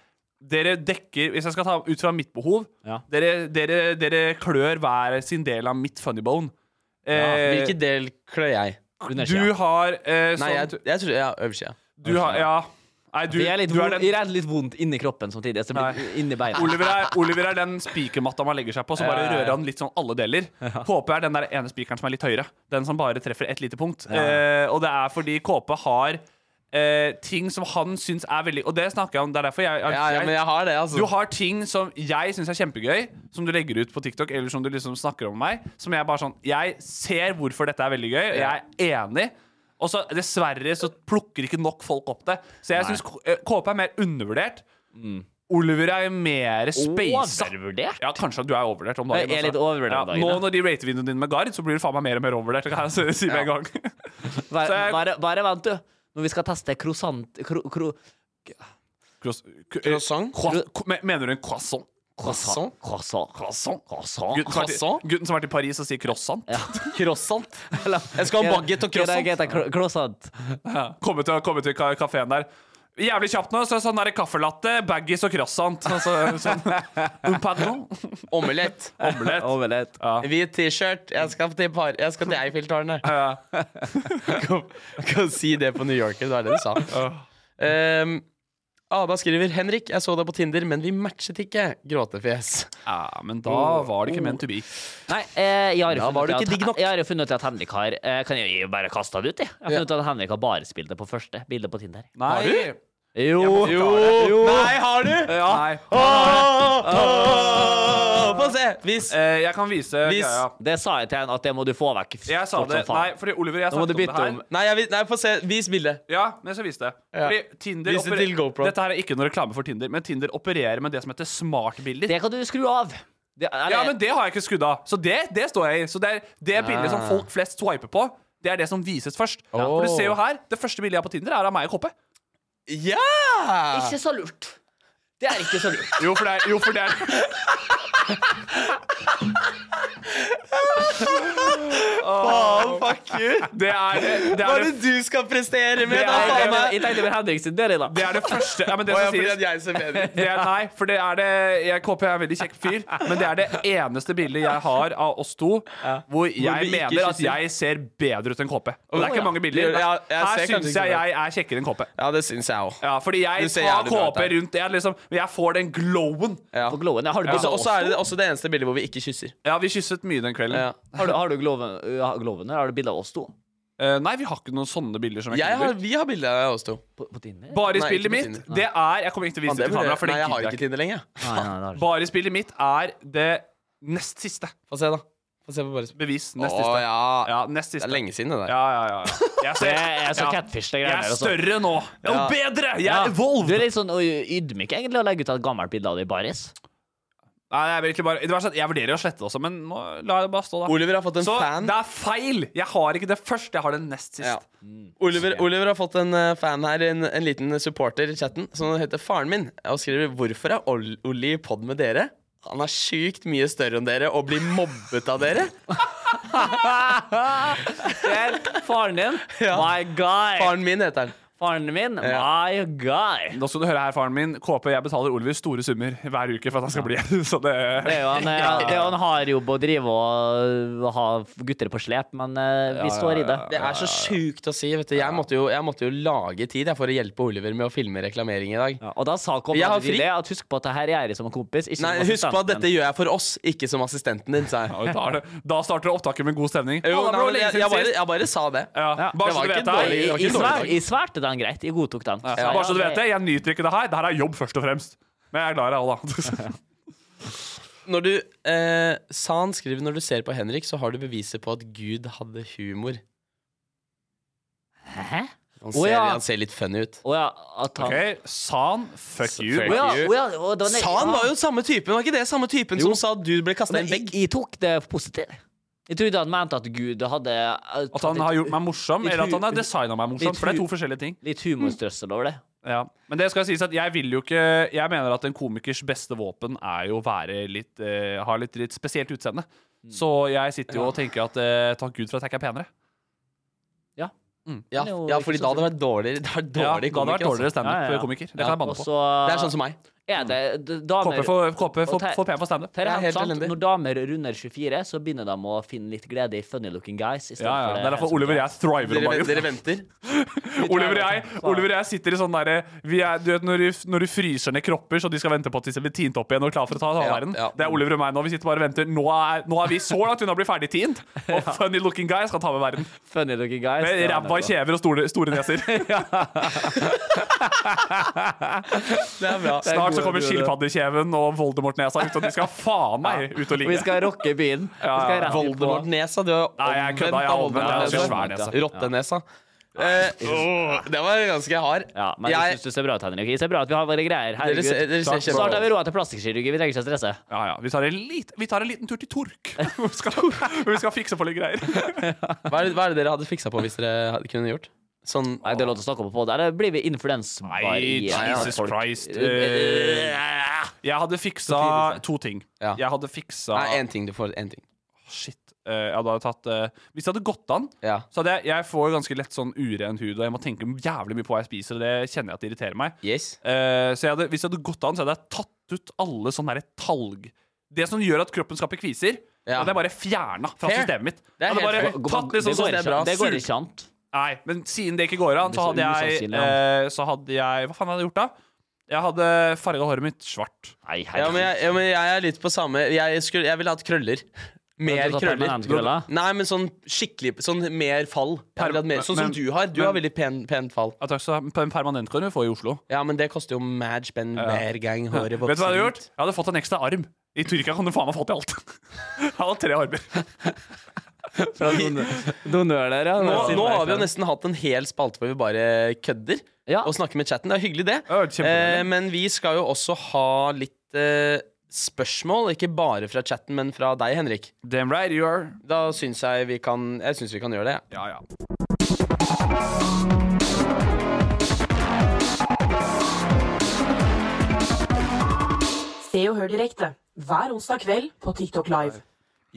B: dere dekker Hvis jeg skal ta ut fra mitt behov,
C: Ja.
B: dere, dere, dere klør hver sin del av mitt funny bone. Eh,
A: Hvilken del klør jeg?
B: Du har eh,
A: Nei, jeg,
B: sånn
A: jeg tror ja, Øversida.
B: Du har Ja. Nei, du,
C: Det er litt,
B: du er
C: vond-
B: den
C: det er litt vondt inni kroppen samtidig. Så det blir inni beina.
B: Oliver er, Oliver er den spikermatta man legger seg på, så bare
C: Ja, ja, ja.
B: rører han litt sånn alle deler. Kåpe er den der ene spikeren som er litt høyere. Den som bare treffer ett lite punkt. Eh, og det er fordi Kåpe har eh, ting som han syns er veldig Og det snakker jeg om, det er derfor jeg, jeg,
A: Ja, ja, men jeg har det, altså.
B: du har ting som jeg syns er kjempegøy, som du legger ut på TikTok, eller som du liksom snakker om meg, som jeg bare sånn Jeg ser hvorfor dette er veldig gøy, og jeg er enig. Og så dessverre så plukker ikke nok folk opp det. Så jeg syns KP er mer undervurdert. Oliver er mer spaisa.
C: Mm. Overvurdert?
B: Ja, kanskje du er overvurdert om dagen.
C: Jeg er litt
B: også.
C: overvurdert om dagen,
B: Nå
C: ja.
B: når de rater videoene dine med Gard, så blir du faen meg mer og mer overvurdert. Det kan jeg si med en gang. Så
C: Bare,
B: jeg-
C: bare, bare vent, du. Når vi skal teste croissant kro, kro,
B: Croiss- k-
A: Croissant?
B: Croiss- me- Mener du en croissant?
C: Croissant? Croissant. Croissant.
B: Gutten som har vært i- Gutten som har vært i Paris og sier croissant?
A: Croissant. Jeg skal ha en baguette og croissant.
C: croissant.
B: (laughs) Komme til, komme til ka- kafeen der. Jævlig kjapt nå, så sånn der kaffelatte, baggies og croissant. Altså, (laughs) sånn. Un pardon. (laughs)
A: Omelett.
B: Omelett.
C: Omelett.
A: Hvit T-skeilt. Jeg skal til, par- jeg skal til Eiffeltårnet. (laughs) Kom- Kan si det på New Yorker. Det var det du sa. Um, Ada skriver Henrik, jeg så deg på Tinder, men vi matchet ikke. Gråtefjes.
B: Ja, men da var det ikke meant to be.
C: Nei, eh, jeg har jo
A: Da var
C: funnet,
A: du
C: ut
A: ikke digg
C: at-
A: nok.
C: jeg har jo funnet ut at Henrik har eh, Kan jeg jo bare kaste det ut, jeg? Jeg har funnet ut at Henrik har bare spilt det på første bildet på Tinder.
B: Nei. Har du?
C: Jo!
A: Nei, har du?
B: Ja. Nei.
A: Åh, åh, Få se! Vis.
B: Eh, jeg kan vise
A: Vis.
B: greia.
C: Det sa jeg til henne at det må du få vekk. f-
B: Jeg sa
C: fort
B: det.
C: som
B: Nei,
C: faen.
B: fordi Oliver og jeg
C: Nå må
B: snakket om
C: du
B: det
C: bytte
B: her.
C: om.
A: Nei, jeg, vil- nei, få se. Vis bildet.
B: Ja, men jeg skal vise det.
A: Ja.
B: Fordi Tinder
A: Vis det
B: operer-
A: til GoPro.
B: Dette her er ikke noe reklame for Tinder, men Tinder opererer med det som heter smartbilder.
C: Det kan du skru av. Det, eller,
B: Ja, men det har jeg ikke skrudd av. Så det, det står jeg i. Så det, er, det bildet som folk flest swiper på, det er det som vises først. For du ser jo her, det første bildet jeg har på Tinder, er av meg og Koppe.
A: Ja!
C: Ikke så lurt. Det er ikke så lurt.
B: Jo, for det er, jo, for det er.
A: Oh, fuck you!
B: Det er det, (laughs) det,
A: Hva
B: er
A: er
B: det,
A: det du skal prestere med,
B: Det
A: da,
B: er-
A: faen meg?
C: Jeg tenkte over Henrik sin del i dag.
B: det er det første ja, men det
A: Å, ja,
B: som
A: fordi at
B: sies,
A: jeg ser bedre ut.
B: (laughs) det er, Nei, for det er det jeg, Koppe er en veldig kjekk fyr, men det er det eneste bildet jeg har av oss to hvor jeg
A: vi ikke
B: mener at
A: kysser.
B: jeg ser bedre ut enn Koppe. Og det er
A: ja.
B: ikke mange bilder.
A: Ja, jeg
B: Her
A: ser kanskje
B: syns
A: ikke
B: jeg
A: det.
B: jeg er kjekkere enn Koppe.
A: Ja, det syns jeg òg.
B: Ja, fordi jeg
A: Du ser
B: tar
A: jævlig bra ut
B: Koppe
A: her.
B: rundt jeg, liksom, jeg får den glowen.
A: Ja.
C: På glowen. Har du
A: Og så- Og
C: gloven?
A: så er det også det eneste
B: Mm.
A: bildet hvor vi ikke kysser.
B: Ja, vi kysset mye den kvelden.
A: Ja.
C: Har du, har du gloven, ja, gloven eller har du bilde av oss to?
B: Eh, nei, vi har ikke noen sånne bilder. som jeg,
A: Jeg
B: kunne
A: har,
B: brukt.
A: vi har bilde av oss to.
C: På, på Tinder?
A: Nei,
B: Barisbildet
A: ikke på
B: mitt,
A: Tinder.
B: det er Jeg kommer ikke til å vise
A: Faen, det
B: det til
A: burde-
B: kamera, for det
A: Nei, jeg
B: gidder
A: har
B: jeg
A: ikke Tinder lenger.
C: Nei, nei, det har du ikke.
B: Barisbildet mitt er det nest siste.
A: Få se, da. Få se på bare
B: Bevis.
A: Å
B: Nest siste.
A: ja.
B: Ja, nest
A: Det
B: siste.
A: er lenge siden, det der.
B: Ja, ja, ja. ja. Jeg, er så-
C: Det er så
B: ja.
C: catfish, det
B: jeg
C: greiene
B: er
C: der. altså. også.
B: større nå. Jeg er
A: Ja.
B: bedre! Jeg
C: Ja.
B: er evolved!
C: Du er litt sånn øy, ydmyk egentlig å legge ut et gammelt bilde av deg i baris.
B: Nei, jeg, vil egentlig bare, det verste er at jeg vurderer å slette det også, men nå la jeg det bare stå, da.
A: Oliver har fått en
B: så
A: fan.
B: det er feil! Jeg har ikke det først, jeg har det nest sist.
A: Ja. Oliver, Oliver har fått en eh, fan her, en, en liten supporter i chatten, som heter faren min, og skriver 'Hvorfor er Ol Olli i pod med dere?' Han er sjukt mye større enn dere og blir mobbet av (laughs) dere.
C: Ser faren din?
A: (laughs) Ja.
C: My guy!
A: Faren
C: Faren,
A: min heter han.
C: min? My guy!
B: Nå skal du høre her, faren min. KP, jeg betaler Oliver store summer hver uke for at han skal bli her. (laughs) Så det
C: Det er jo
A: (laughs)
C: en, eh, det er jo en hard jobb å drive og ha gutter på slep, men eh, vi står i det.
A: Det er så sjukt å si. vet du Jeg måtte jo, jeg måtte jo lage tid jeg, for å hjelpe Oliver med å filme reklamering i dag.
C: Ja, og da sa kom
A: Jeg har
C: Adrille
A: fri.
C: at husk på at det her gjør jeg som en kompis. Ikke
A: Nei,
C: som
A: husk på at
C: assistenten
A: dette gjør jeg for oss, ikke som assistenten din, sa jeg.
B: (laughs) Ja, da, er det, da starter opptaket med god stemning.
A: Jo,
B: Å, det
A: nei, men
B: ble lenge
A: jeg,
B: siden
A: jeg, bare,
B: sist.
A: jeg bare sa det.
B: Ja.
C: Ja.
A: Det
B: Bare
A: var
B: så du
A: ikke
B: vet det.
A: dårlig- det
B: jeg-
A: var ikke
C: din. I, i,
A: dårlig
C: sver,
A: dag.
C: I sverte den greit. Jeg godtok den.
B: Ja.
C: Ja,
B: Bare så du
C: ja,
B: vet det, jeg nyter ikke det her. Det her er jobb først og fremst. Men jeg er glad i deg òg, da.
A: Når du, eh, San skriver når du ser på Henrik, så har du beviset på at Gud hadde humor.
C: Hæ?
A: Han
C: Å
A: ser,
C: ja.
A: han ser litt funny ut.
C: Å ja, at han
B: (laughs) OK, San, fuck you.
A: Fuck
C: Å ja,
A: you.
C: å ja, å, det var-
A: San var jo samme typen, var ikke det samme typen
C: Jo.
A: som sa at du ble kasta i
C: Men
A: en
C: jeg,
A: vegg?
C: jeg tok det positivt. Jeg trodde han mente at Gud hadde eh,
B: At han
C: litt-
B: har gjort meg morsom,
C: litt
B: eller at han har
C: hu-
B: designa meg morsom.
C: litt
B: For det er
C: hu-
B: to forskjellige ting.
C: Litt humorstrøssel over det.
B: Ja. Men det skal sies at jeg vil jo ikke Jeg mener at en komikers beste våpen er jo å være litt eh, ha litt, litt spesielt utseende. Så jeg sitter jo og tenker at eh, takk Gud for at jeg ikke er penere.
A: Ja,
C: Det er jo
A: ja,
C: ikke
A: fordi
C: så
A: da hadde det vært dårligere, det hadde vært
B: Ja,
A: dårlig
B: da hadde det vært
A: komiker,
B: dårligere
A: altså.
B: standup-komiker. Det kan jeg banne
C: og
B: på.
C: så
A: Det er sånn som meg.
C: er det d-
B: KP
C: damer
B: for, KP
C: og
B: for,
C: te-
B: for pen for standup.
C: Det er
A: Det er helt
C: helt sant.
A: elendig.
C: Når damer runder 24, så begynner de å finne litt glede i funny looking guys. i stedet
B: Ja, ja. Det
C: for
B: er derfor
C: som-
B: Oliver og jeg thriver om
A: Dere,
B: dagen.
A: dere venter.
B: Oliver og jeg, Oliver og jeg sitter i sånn derre vi er- Du vet når du, når du fryser ned kropper, så de skal vente på at de skal bli tint opp igjen og klar for å ta
A: Ja,
B: halvverden.
A: ja.
B: Det er Oliver og meg nå. Vi sitter bare og venter. Nå er, nå er vi så langt unna å bli ferdig
C: (laughs)
B: tint, og funny looking guy skal ta med verden.
C: Funny looking guys.
B: Med
C: det er
B: ræva
C: det.
B: kjever og store, store
C: (laughs)
B: neser.
A: (laughs) Det er bra.
B: Snart så kommer skilpaddekjeven og Voldemort-nesa ut, og de skal faen meg ut og
C: Og Vi
B: ligge.
C: skal rocke
A: (laughs)
C: byen. Vi skal rett på-
A: Voldemort-nesa. Du er
B: Nei, jeg kødda, jeg er omvendt. Jeg
A: Voldemort-nesa.
C: er svær nese.
A: Rottenesa. Eh, åh, det var ganske hard.
C: Ja, men jeg,
A: Jeg-
C: synes syns det ser bra ut, Henrik. Det ser bra ut. Vi har våre greier.
A: Dere
C: Herregud.
A: ser, dere ser
B: Takk.
A: kjempebra ut.
C: Snart har vi råd til plastikkirurgi. Vi trenger ikke å stresse.
B: Ja, ja. Vi tar en, lit, vi tar en liten tur til
C: (laughs)
B: Tork. Vi skal, vi skal fikse på litt greier.
A: Hva er, det, hva er det dere hadde fiksa på hvis dere hadde, kunne gjort? Sånn
C: Nei, det er lov til å snakke om på podden. Eller blir vi influensbare i-
B: Jesus
C: folk?
B: Christ.
C: Eh,
B: Jeg hadde fiksa
A: Sofie,
B: to ting.
A: Ja.
B: Jeg hadde fiksa
A: Nei, én ting. Du får én ting.
B: Shit. Eh, Jeg hadde tatt eh, Hvis det hadde gått an
A: Ja.
B: så hadde jeg, jeg får ganske lett sånn uren hud, og jeg må tenke jævlig mye på hva jeg spiser. Og det kjenner jeg at det irriterer meg.
A: Yes.
B: Eh, så jeg hadde, hvis det hadde gått an, så hadde jeg tatt ut alle sånne der talg. Det som gjør at kroppen skaper kviser,
A: Ja.
B: hadde jeg bare fjerna fra
A: Fair.
B: systemet mitt.
A: Det er
B: Jeg
A: helt
B: hadde bare
A: fair.
B: tatt litt sånn
C: det, går
B: sånn-
A: det er bra.
C: ikke, det går
A: Sur.
C: ikke an.
B: Nei, men siden det ikke går an,
C: Det
B: så
C: er så
B: hadde jeg,
C: usannsynlig,
B: eh, så hadde jeg Hva faen hadde jeg gjort da? Jeg hadde farga håret mitt svart.
C: Nei,
A: Ja, men jeg, ja, men jeg er litt på samme Jeg, skulle, jeg ville hatt krøller. Mer
C: Du tar
A: krøller.
C: permanent krøller?
A: Nei, men sånn skikkelig Sånn mer fall. Jeg ville hatt mer, sånn
B: men-
A: som du har. Du
B: men-
A: har veldig pen, pent fall.
B: Jeg tar også en permanentkorn vi får i Oslo.
A: Ja, men det koster jo mad spenn hver
B: (laughs)
A: gang håret vokser.
B: Vet du hva jeg hadde
A: ut.
B: gjort? Jeg hadde fått en ekstra arm. I Tyrkia kan du faen meg få til alt. (laughs) Jeg hadde tre armer.
C: (laughs)
B: (laughs)
C: Donør der, ja.
A: Nå, nå har vi jo nesten hatt en hel spalte hvor vi bare kødder
C: Ja.
A: og snakker med chatten. Det er hyggelig, det.
B: Ja, det er kjempedeilig.
A: Eh, men vi skal jo også ha litt eh, spørsmål, ikke bare fra chatten, men fra deg, Henrik.
B: Damn right you are.
A: Da syns jeg vi kan Jeg syns vi kan gjøre det. jeg.
B: Ja, ja.
D: Se og hør direkte hver onsdag kveld på TikTok Live.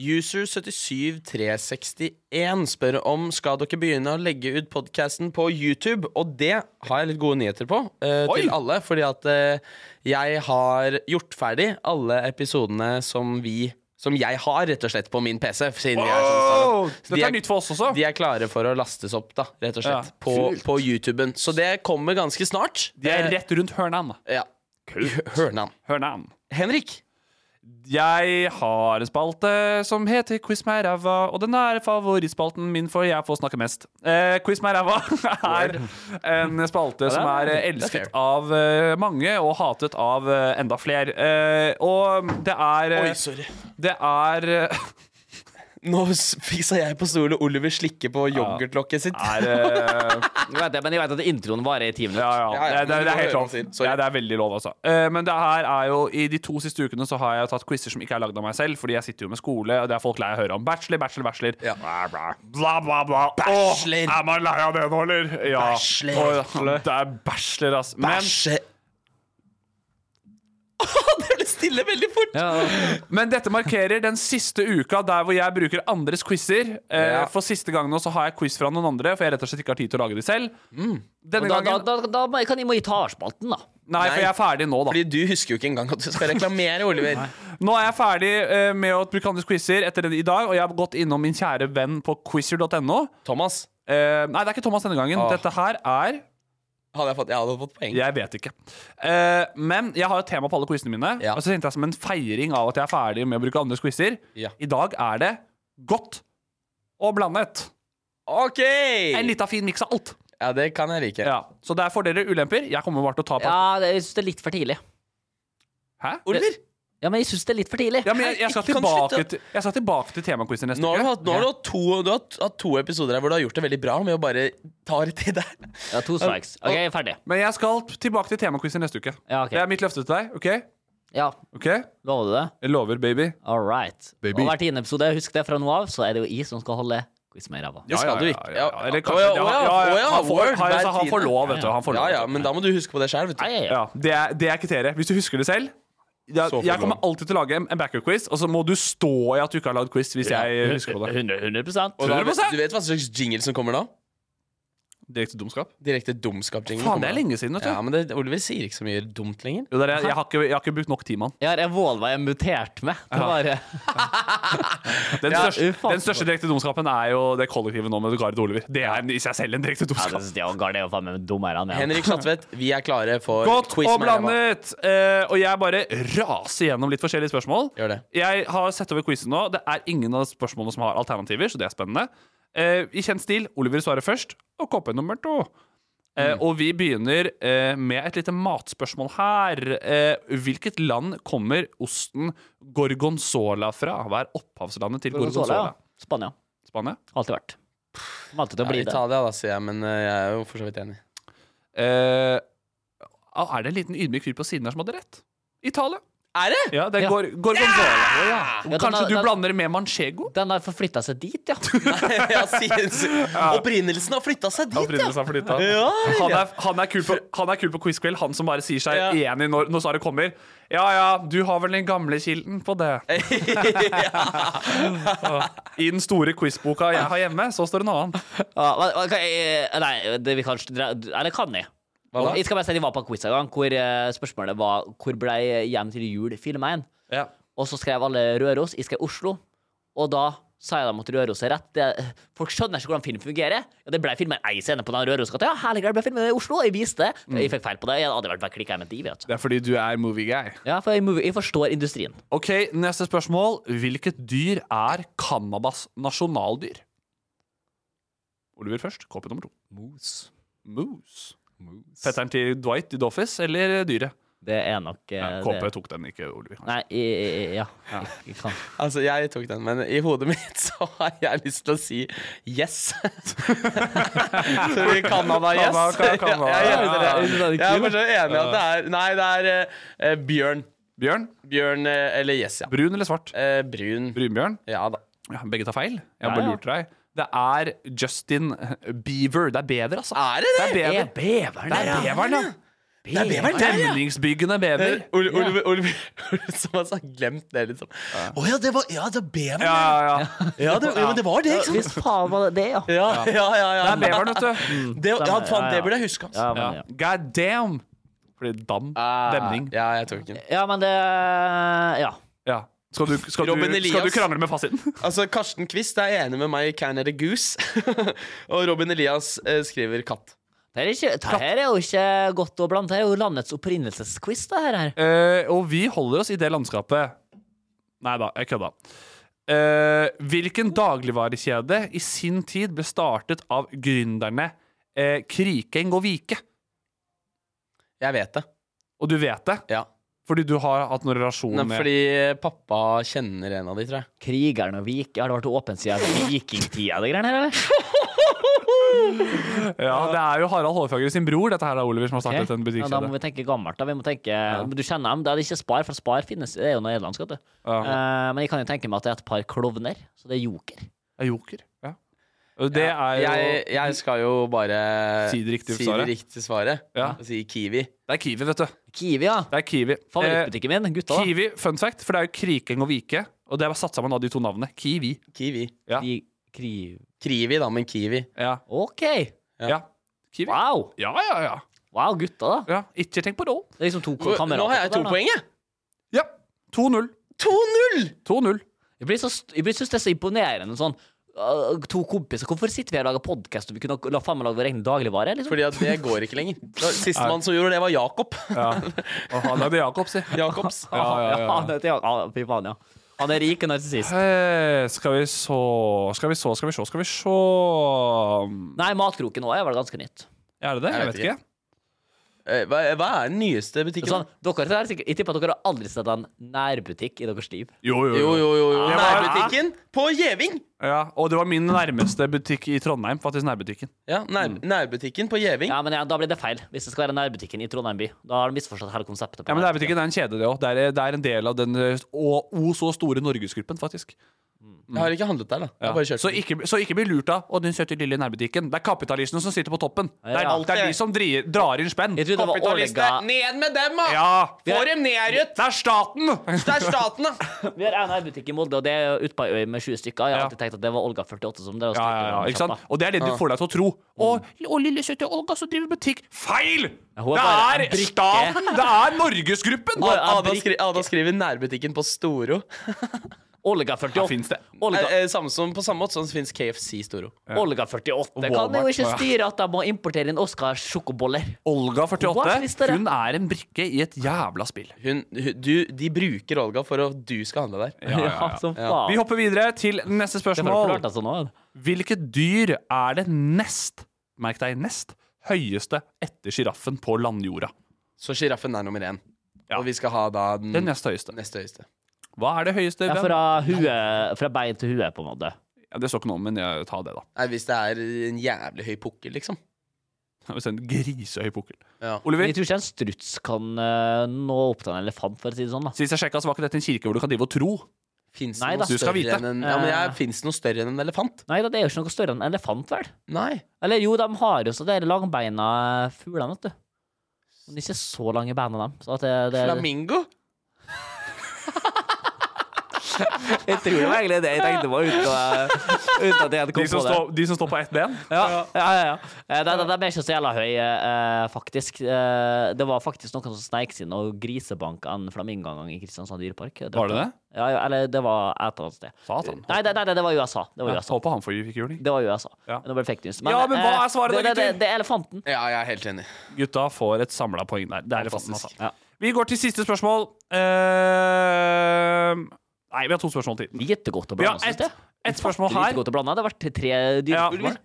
A: User77361 spør om skal dere begynne å legge ut podkasten på YouTube. Og det har jeg litt gode nyheter på eh,
B: Oi!
A: til alle. Fordi at eh, jeg har gjort ferdig alle episodene som vi Som jeg har, rett og slett, på min PC. Siden vi er sånn startup.
B: Wow! Dette er nytt for oss også.
A: De er klare for å lastes opp, da, rett og slett,
B: Ja,
A: på, på YouTuben. Så det kommer ganske snart.
C: Eh.
B: De er rett rundt Hørnan.
A: Eh, ja. Hørnan.
B: Hørnan.
A: Henrik,
B: Jeg har en spalte som heter Quiz meg ræva, og den er favorittspalten min, for jeg får snakke mest. Eh, Quiz meg ræva (laughs) er en spalte som er eh,
A: fair.
B: elsket av eh, mange og hatet av eh, enda flere. Eh, og det er eh,
A: Oi, sorry.
B: Det er eh, (laughs)
A: Nå s- fiksa jeg på stolen, og Oliver slikker på yoghurtlokket sitt.
B: er, eh,
C: Jeg vet det, men jeg vet at introen varer i ti minutter.
A: Ja,
B: Ja, ja.
A: ja,
B: Det, det,
A: men
B: det
A: du
B: er
A: må høre hva
B: helt lov.
A: han sier. Sorry.
B: Ja, det er veldig lov, altså. Eh, Men det her er jo I de to siste ukene så har jeg tatt quizer som ikke er lagd av meg selv, fordi jeg sitter jo med skole, og det er folk lei av å høre om. Bachelor, bachelor, bachelor.
A: Ja.
B: Bla, bla, bla. bla, bla.
A: Bachelor.
B: Åh, er man lei av det nå, eller? Ja.
A: Bachelor.
B: Åh, det er bachelor, ass. Men,
A: Bæsje (laughs) Det ble stille veldig fort!
B: men dette markerer den siste uka der hvor jeg bruker andres quizer. Eh,
A: Ja.
B: For siste gang nå så har jeg quiz fra noen andre, for jeg rett og slett ikke har tid til å lage de selv.
A: Mm.
B: Denne
C: Da, da,
B: gangen
C: da, da må jeg- kan jeg må jeg ta spalten, da.
B: Nei, for jeg er ferdig nå, da.
A: Fordi du husker jo ikke engang at du skal reklamere, Oliver.
B: Nå er jeg ferdig eh, med å bruke andres quizer etter den i dag, og jeg har gått innom min kjære venn på quizer.no.
A: Thomas,
B: Eh, nei, det er ikke Thomas denne gangen.
A: Åh.
B: Dette her er
A: hadde jeg, fått, jeg hadde fått poeng.
B: Jeg vet ikke. Eh, men jeg har et tema på alle quizene mine,
A: Ja.
B: og så tenkte jeg som en feiring av at jeg er ferdig med å bruke andres quizer.
A: Ja.
B: I dag er det godt og blandet.
A: OK!
B: En
A: Eh.
B: lita fin miks av alt.
A: Ja, det kan jeg like.
B: Ja. Så det er fordeler og ulemper. Jeg kommer bare til å ta på
C: Ja, det- jeg syns det er litt for tidlig.
B: Hæ?
A: Oliver,
C: Ja, men jeg syns det er litt for tidlig.
B: Ja, men jeg, jeg, skal
A: Kan slutte
B: tilbake
A: å-
B: til, jeg skal tilbake til temaquizen neste
A: nå har du
B: uke.
A: hatt, nå har du hatt, to, du har hatt- hatt to episoder her hvor du har gjort det veldig bra med å bare ta rett i der.
C: Ja, to strikes. OK, jeg er ferdig.
B: Men jeg skal tilbake til temaquizen neste uke.
C: Ja, ok.
B: Det er mitt løfte til deg. OK?
C: Ja,
B: Ok,
C: Lover du det?
B: jeg lover, baby.
C: All right.
B: Baby.
C: Og hver tiende episode, husk det fra nå av, så er det jo jeg som skal holde quiz med ræva.
A: Det skal du ikke.
B: Ja, ja, eller kanskje-
A: Å ja, å ja,
B: ja, ja, ja,
A: å ja,
B: han får-
A: word,
B: han-
A: hver
B: altså, han får
A: tiende.
B: lov, vet du, han får
A: Ja,
B: lov,
A: ja,
B: vet du.
A: men da må du huske på det sjøl, vet
C: Ja,
A: du.
C: ja, ja.
B: Ja, det er, det er kriteriet. Hvis du husker det selv ja,
A: Så får
B: Jeg
A: du
B: kommer
A: lov.
B: alltid til å lage en, en backup-quiz, og så må du stå i at du ikke har lagd quiz. Hvis jeg husker på det
C: 100, 100
A: Og da,
B: 100%.
A: du vet hva slags jingle som kommer da?
B: Direkte dumskap.
A: Direkte dumskap-jingle.
B: Faen, det er lenge siden. vet du
A: Ja, men det, Oliver sier ikke så mye dumt lenger.
B: jo, det er, jeg, har ikke, jeg har ikke brukt nok tid, mann.
C: Jeg har Evolva jeg mutert med. Det var
B: Den,
C: Ja,
B: største-
C: ufattelig.
A: altså.
B: den største direkte dumskapen er jo det kollektivet nå med Gard Oliver. Det er i seg selv en direkte
C: Ja,
B: dumskap.
C: det synes jeg og Gard er jo faen meg dummere enn jeg.
A: Henrik Slatvedt, vi er klare for
B: Godt
A: quiz
B: og
A: med ræva.
B: blandet! Eh, og jeg bare raser gjennom litt forskjellige spørsmål.
A: Gjør det.
B: Jeg har sett over quizen nå. Det er ingen av spørsmålene som har alternativer, så det er spennende. Eh, I kjent stil, Oliver svarer først, og KP nummer to. Eh,
C: Mm.
B: Og vi begynner eh, med et lite matspørsmål her. Eh, hvilket land kommer osten gorgonzola fra? Hva er opphavslandet til gorgonzola?
C: Gorgonzola, ja. Spania.
B: Spania?
C: Alltid vært. Kommer alltid til å bli
A: Ja,
C: det.
A: Italia, da, sier jeg, men eh, jeg er jo for så vidt enig.
B: Eh, er det en liten ydmyk fyr på siden her som hadde rett? Italia.
A: Er det?
B: Ja, det er gor gorgonzola.
C: Ja, den
B: Kanskje
C: er-
B: du
C: den-
B: blander med manchego?
C: Den har forflytta seg dit, ja.
A: ja, (laughs) sier- sier- Opprinnelsen har flytta seg dit, ja.
B: Opprinnelsen er flytta.
A: Ja,
B: Han er, han er kul på, han er kul på quizkveld, han som bare sier seg
A: Ja.
B: enig når, når svaret kommer. Ja ja, du har vel den gamle kilden på det. I den store quizboka jeg har hjemme, så står det noe annet.
C: Ja, hva- hva- kan jeg- Nei, det vi kan dra- Eller kan jeg?
A: da?
C: Jeg skal bare si de var på en quiz en gang hvor eh, spørsmålet var hvor ble Hjem til jul filma igjen?
B: Ja.
C: Og så skrev alle Røros, jeg skrev Oslo. Og da sa jeg dem at Røros er rett. Det, folk skjønner ikke hvordan film fungerer. Ja, det ble filmet ei scene på den Rørosgata. Ja, herlig, det ble filmet i Oslo. Jeg viste det. Jeg fikk feil på det. Jeg hadde vært klikka med div. Altså.
B: Det er fordi du er movie guy.
C: Ja, for jeg, movie- jeg forstår industrien.
B: Ok, Neste spørsmål. Hvilket dyr er Canadas nasjonaldyr? Oliver først. Kåpe nummer to.
C: Mos.
B: Moose. Fetteren til Dwight i The Office eller dyret?
C: Det er nok eh,
B: Ja, KP
C: det.
B: tok den ikke, Oliver.
C: Nei, jeg, jeg- ja. Jeg, jeg kan.
A: Altså, jeg tok den, men i hodet mitt så har jeg lyst til å si
B: (laughs)
A: yes. så vi Canada, yes.
B: Canada, Ca-
A: (laughs)
B: Canada.
A: Jeg, jeg, jeg,
B: Ja, ja,
A: jeg, er for så vidt enig i at det er Nei, det er eh, eh, bjørn.
B: Bjørn?
A: Bjørn eh, eller yes, ja.
B: Brun eller svart?
A: Eh, brun.
B: Brunbjørn?
A: Ja da.
B: Ja, begge tar feil. Jeg har
C: Ja,
B: bare
C: ja.
B: lurt deg. Det er Justin Beaver. Det er bever, altså.
A: Er det Ah, det?
B: Det er
C: Er
B: bever.
C: beveren
B: Det er
C: der, ja?
B: beveren, ja.
C: Det er beveren der, ja.
B: Demningsbyggende
A: Eh,
B: bever.
A: Ol- Oliver Oliver- Oliver som har sagt glemt det, liksom. Å ja, det var Ja, det er beveren.
B: Ja,
A: Ja,
B: ja, ja.
A: det, ja, men det var det, ikke sant?
C: Hvis faen var det det, ja.
A: Ja, ja, ja. ja,
B: Det er beveren, vet du.
A: Det, ja, faen,
C: ja, ja.
A: det burde jeg huske, altså.
C: Ja, men,
B: Ja.
C: ja.
B: God damn! Fordi dam.
A: Ah.
B: Demning.
A: Ja, jeg tok den.
C: ja, men det Ja.
B: Ja. Skal du, skal, du,
A: Robin
B: skal du
A: Elias.
B: krangle med fasiten?
A: Altså, Karsten Kvist er enig med meg i Canada Goose. (laughs) og Robin Elias eh, skriver katt.
C: Det er, ikke, det her er jo ikke godt å blande. Det er jo landets opprinnelsesquiz, det her.
B: Eh, og vi holder oss i det landskapet. Nei da, jeg kødda. Eh, hvilken dagligvarekjede i sin tid ble startet av gründerne eh, Krikeng og Vike?
A: Jeg vet det.
B: Og du vet det?
A: Ja.
B: Fordi du har hatt noen relasjon
A: Nei,
B: med
A: fordi pappa kjenner en av de, tror jeg.
C: Krigeren og Vik Har det vært åpent siden vikingtida, det greiene her, eller?
B: Ja, Det er jo Harald Hårfagre sin bror, dette her er Oliver, som har startet en
C: Ja, da
B: butikkjede.
C: må vi tenke gammelt, da. Vi må tenke Du kjenner dem. Det er ikke Spar, for Spar finnes Det er jo noe nederlandsk, vet du.
B: Ja.
C: Eh, men jeg kan jo tenke meg at det er et par klovner, så det er joker.
B: Det er Joker. Ja. Og Det er jo
A: jeg, jeg skal jo bare
B: Si det riktige
A: si
B: svaret.
A: riktige svaret.
B: Ja.
A: Og si Kiwi.
B: Det er Kiwi, vet du.
C: Kiwi, ja.
B: Det er Kiwi. Eh,
C: Favorittbutikken min. Gutta, da.
B: Kiwi, fun fact, for det er jo Krikeng og Vike, og det var satt sammen av de to navnene. Kiwi.
A: Kiwi.
B: Ja.
C: Kiwi. Kri...
A: Krivi, da, men Kiwi.
B: Ja.
C: OK.
B: ja. Kiwi.
C: Wow.
B: Ja, ja, ja.
C: Wow, gutta, da.
B: ja. Ikke tenk på roll.
C: Det er liksom to
A: Nå
C: kamerater.
A: har jeg
C: på
A: to
C: der, da.
A: poeng, jeg.
B: Ja. 2-0.
A: 2-0!
B: 2-0.
C: Jeg blir, så, st- jeg blir synes det er så imponerende sånn øh, To kompiser, hvorfor sitter vi her og lager podkast og vi kunne ha- la faen meg lage vår egen dagligvare? Liksom?
A: Fordi at det går ikke lenger. Sistemann som gjorde det, var Jakob.
B: Ja. Og han er det Jakob, si.
A: (laughs) Jakobs.
B: Ja, ja,
C: (laughs)
B: ja.
C: han heter Jan- ah, Fy faen, ja. Han er rik og narsissist.
B: Eh, skal vi så Skal vi så, skal vi så, skal vi så
C: Nei, Matkroken òg er vel ganske nytt.
B: Er det det? Jeg
A: vet
B: vet ikke.
A: Eh, Hva, hva er den nyeste
C: Det
A: butikken?
C: er Sånn, dere er sikkert, jeg tipper at dere har aldri sett en nærbutikk i deres liv.
B: Jo,
A: Jo, jo, jo. jo.
B: Det var-
A: Nærbutikken på Gjeving.
B: Ja, og det var min nærmeste butikk i Trondheim, faktisk nærbutikken.
A: Ja, nær, nærbutikken på Gjeving.
C: Mm. Ja, men ja, Da blir det feil, hvis det skal være nærbutikken i Trondheim by. Da har de misforstått hele konseptet. på
B: Ja, men
C: nærbutikken.
B: Nærbutikken er en kjede, det òg. Det, er- det er en del av den eh, å, o så store norgesgruppen, faktisk.
A: Jeg har ikke handlet der, da. Jeg
B: Ja.
A: har bare kjørt
B: Så, ikke, så ikke bli lurt av Å, den søte lille nærbutikken. Det er kapitalistene som sitter på toppen. Det er,
C: Ja.
B: det er de som dri, drar inn spenn.
C: Jeg trodde det var
A: Kapitalistene,
C: Ålega
A: ned med dem, da!
B: Ja!
A: Få dem ned, Ruth!
B: Det er staten!
A: Det er staten, (laughs) da!
C: Vi har en nærbutikk i Molde, og det er ute på ei øy med 20 stykker. Jeg har
B: Ja.
C: alltid tenkt at det var Olga 48 som drev og
B: Ja,
C: styrte
B: ja, ja, Mm.
C: den
B: ikke sant?
C: sjappa.
B: Og det er det du får deg til å tro. Å, å lille søte Olga som driver butikk. Feil!
C: hun er
B: Det
C: bare en
B: er
C: brikke.
B: staten! Det er Norgesgruppen!
C: Å, ja.
A: Ada, skri, Ada skriver nærbutikken på Storo.
C: Olga 48.
B: Ja, finnes det.
C: Olga,
A: Eh, eh, samme som, på samme måte som fins KFC i Storo.
C: Olga 48 kan
B: Walmart,
C: jo ikke
B: ja.
C: styre at de må importere inn Oscars sjokoboller.
B: Olga
C: Hva
B: 48,
C: visste dere?
B: hun er en brikke i et jævla spill.
A: Hun, hun, du, de bruker Olga for at du skal handle der.
C: (laughs) Ja, som faen.
B: Vi hopper videre til neste
C: Det er for å
B: spørsmål.
C: flørte sånn også.
B: Hvilket dyr er det nest, merk deg nest, høyeste etter sjiraffen på landjorda?
A: Så sjiraffen er nummer én.
B: Ja.
A: Og vi skal ha da den,
B: Den nest høyeste.
A: neste høyeste.
B: Hva er det høyeste?
C: Mm. Ja,
B: Ben?
C: fra, hue, fra bein til hue, på en måte.
B: Ja, det står ikke noe om, men jeg tar det, da.
A: Nei, hvis det er en jævlig høy pukkel, liksom.
B: Hvis det er en grisehøy pukkel.
A: Ja.
C: Men
B: Oliver,
C: jeg tror ikke en struts kan eh, nå opp til en elefant, for å si det sånn. da
B: sist jeg sjekka, var ikke dette en kirke hvor du kan drive og tro.
A: Fins det
C: Nei
A: noe
C: da. Du
B: skal
A: større
B: vite.
A: enn en, ja, men
C: Eh.
A: jeg, finnes det noe større enn en elefant?
C: Nei da, det er jo ikke noe større enn en elefant, vel?
A: Nei.
C: Eller jo, de har jo så de langbeina fuglene, vet du. Men de er ikke så lange beina, dem. Så at det, det,
A: Flamingo?
C: jeg tror det var egentlig det jeg tenkte på, uten, å- uten at jeg hadde
B: De som, står, de som står på ett ben?
C: Ja, ja, ja. ja. De, er ikke så jævla høye, eh, faktisk. Eh, det var faktisk noen som sneik seg inn og grisebanka en flamingo en gang i Kristiansand dyrepark. Jeg drepte
B: Var det
C: den. Ja, ja, eller det var et eller annet sted.
B: Satan.
C: Nei, nei, nei, nei, det var USA. Det var
B: Ja,
C: USA.
B: Håper han får fikk juling.
C: Det var USA.
B: Ja.
C: Nå ble det fake news.
B: Ja, men hva
C: eh,
B: er svaret da,
C: det, det, det,
B: gutter?
C: det er elefanten.
A: Ja, jeg er helt enig.
B: Gutta får et samla poeng der. Det er elefanten, altså.
A: Fantastisk.
C: Ja.
B: Vi går til siste spørsmål. Eh, Nei, vi har to spørsmål til.
C: Gjettegodt å
B: Vi har
C: blande,
B: ett
C: synes jeg.
B: et spørsmål her.
C: Gjettegodt å blande. Det har vært tre dyreparker.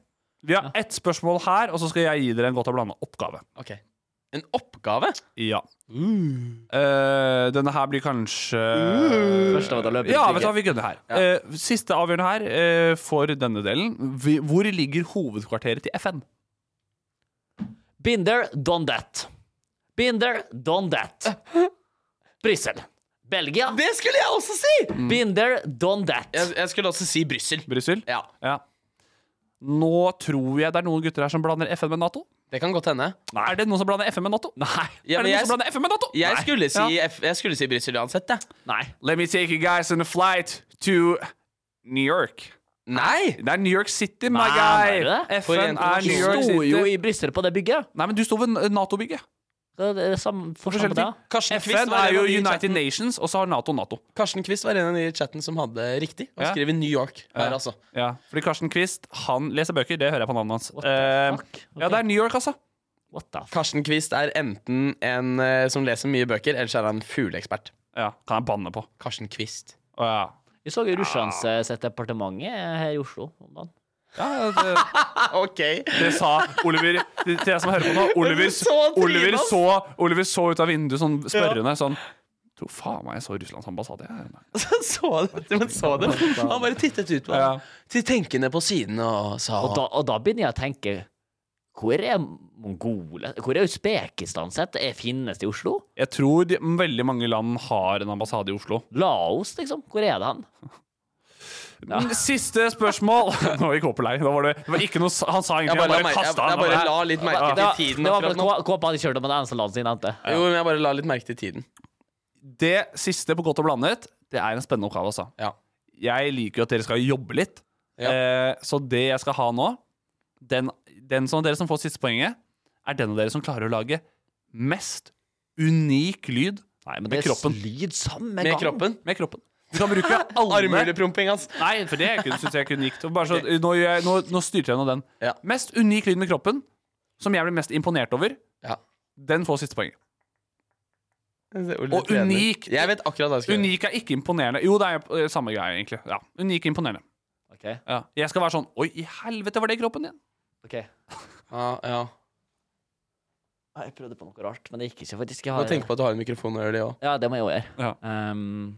B: Vi har ett spørsmål her, og så skal jeg gi dere en godt og blanda oppgave.
A: Ok. En oppgave?
B: Ja.
C: Uh.
B: Eh, denne her blir kanskje
C: Først av det løper
B: Ja,
C: ikke.
B: vet du hva, vi gønner her. Eh, siste avgjørende her eh, for denne delen. Vi, hvor ligger hovedkvarteret til FN?
C: Been there, done that. Been there, done that. Brussel. Belgia.
A: Det skulle jeg også si!
C: Been there, done that.
A: Jeg, jeg skulle også si Brussel.
B: Brussel?
A: Ja,
B: Ja. Nå tror jeg det er noen gutter her som blander FN med Nato.
A: det kan godt hende.
B: Er det noen som blander FN med Nato? Nei.
A: Ja,
B: er
A: men
B: det noen
A: jeg-
B: som blander FN med Nato?
A: Jeg
B: Nei.
A: skulle si,
B: Ja.
A: F- jeg skulle si Brussel uansett, jeg.
C: Nei.
B: Let me take you guys on a flight to New York.
A: Nei!
B: Det er New York City, my
C: Nei,
B: guy!
C: mener du det?
B: FN er
A: Forente
B: New
C: Vi
B: York
C: sto
B: City.
C: jo i Brussel på det bygget.
B: Nei, men du sto ved Nato-bygget.
C: Det er det samme,
B: Forskjellige
C: forskjell på det.
B: ting.
A: Karsten Kvist
B: FN
A: var
B: er
A: en
B: jo
A: av de i
B: United
A: chatten.
B: Nations, og så har Nato Nato.
A: Karsten Kvist var en av de i chatten som hadde riktig. Han
B: Ja.
A: skrev i New York her, altså.
B: Ja, fordi Karsten Kvist, han leser bøker. Det hører jeg på navnet hans.
C: the
B: Eh,
C: fuck?
B: Ja, det er New York, altså.
C: What the fuck?
A: Karsten Kvist er enten en eh, som leser mye bøker, eller så er han fugleekspert.
B: Ja, Kan jeg banne på.
A: Karsten Kvist.
B: Å ja.
C: Vi så jo Russlands eh, sitt departement eh, her i Oslo om dagen.
B: ja det,
A: OK. (laughs)
B: det sa Oliver til til jeg som hører på nå. Oliver
A: Så tvilen,
B: Oliver
A: ass.
B: så, Oliver så ut av vinduet sånn spørrende sånn Tror faen meg jeg så Russlands ambassade. jeg."
A: Han så det, men så det. Han bare tittet ut på
B: Ja.
A: meg. Til tenkende på siden og sa
C: Og da, og da begynner jeg å tenke Hvor er Mongolia? Hvor er Usbekistan sitt? Er- Finnes det i Oslo?
B: Jeg tror de, veldig mange land har en ambassade i Oslo.
C: Laos, liksom? Hvor er det hen?
B: Mm, Siste spørsmål! (laughs) Nå gikk Håper lei. Da var det, det var ikke noe, s- han sa
A: Jeg
B: egentlig
A: bare, la
B: Han
A: merke-
B: bare
A: jeg,
B: kasta
A: jeg bare la litt merke
C: det
A: til
C: var,
A: tiden.
C: det var
A: akkurat nå.
C: for at K- Kåpa hadde kjørt om det eneste landet sitt endte.
A: Jo, men jeg bare la litt merke til tiden.
B: Det siste på godt og blandet, det er en spennende oppgave, altså.
A: Ja.
B: Jeg liker jo at dere skal jobbe litt.
A: Ja.
B: Eh, så det jeg skal ha nå, den, den som dere som får siste poenget, er den av dere som klarer å lage mest unik lyd
C: Nei, men
B: med
C: det
B: kroppen.
C: lyd samme
A: Med
C: gang.
A: kroppen.
B: med kroppen. Du kan
A: (laughs)
B: bruke alle
A: Armhulepromping, ass.
B: Nei, for det syns jeg er unikt. Og Bare så, nå, gjør jeg, nå, nå styrte jeg nå den.
A: Ja.
B: Mest unik lyd med kroppen, som jeg blir mest imponert over,
A: Ja.
B: den får siste poenget.
A: Og
B: unik.
A: Jeg vet akkurat hva jeg skal gjøre.
B: Unik er ikke imponerende. Jo, det er eh, samme greie, egentlig. Ja. Unik imponerende.
C: Ok,
B: Ja. Jeg skal være sånn Oi, i helvete, var det kroppen din?
C: ok.
A: Ja, ja.
C: Ja, Ah, Jeg prøvde på noe rart, men det gikk ikke. faktisk. Jeg
A: Må
C: har,
A: tenke på at du har en mikrofon og gjør det òg.
C: Ja, det må jeg jo gjøre.
B: Ja.
C: Ehm,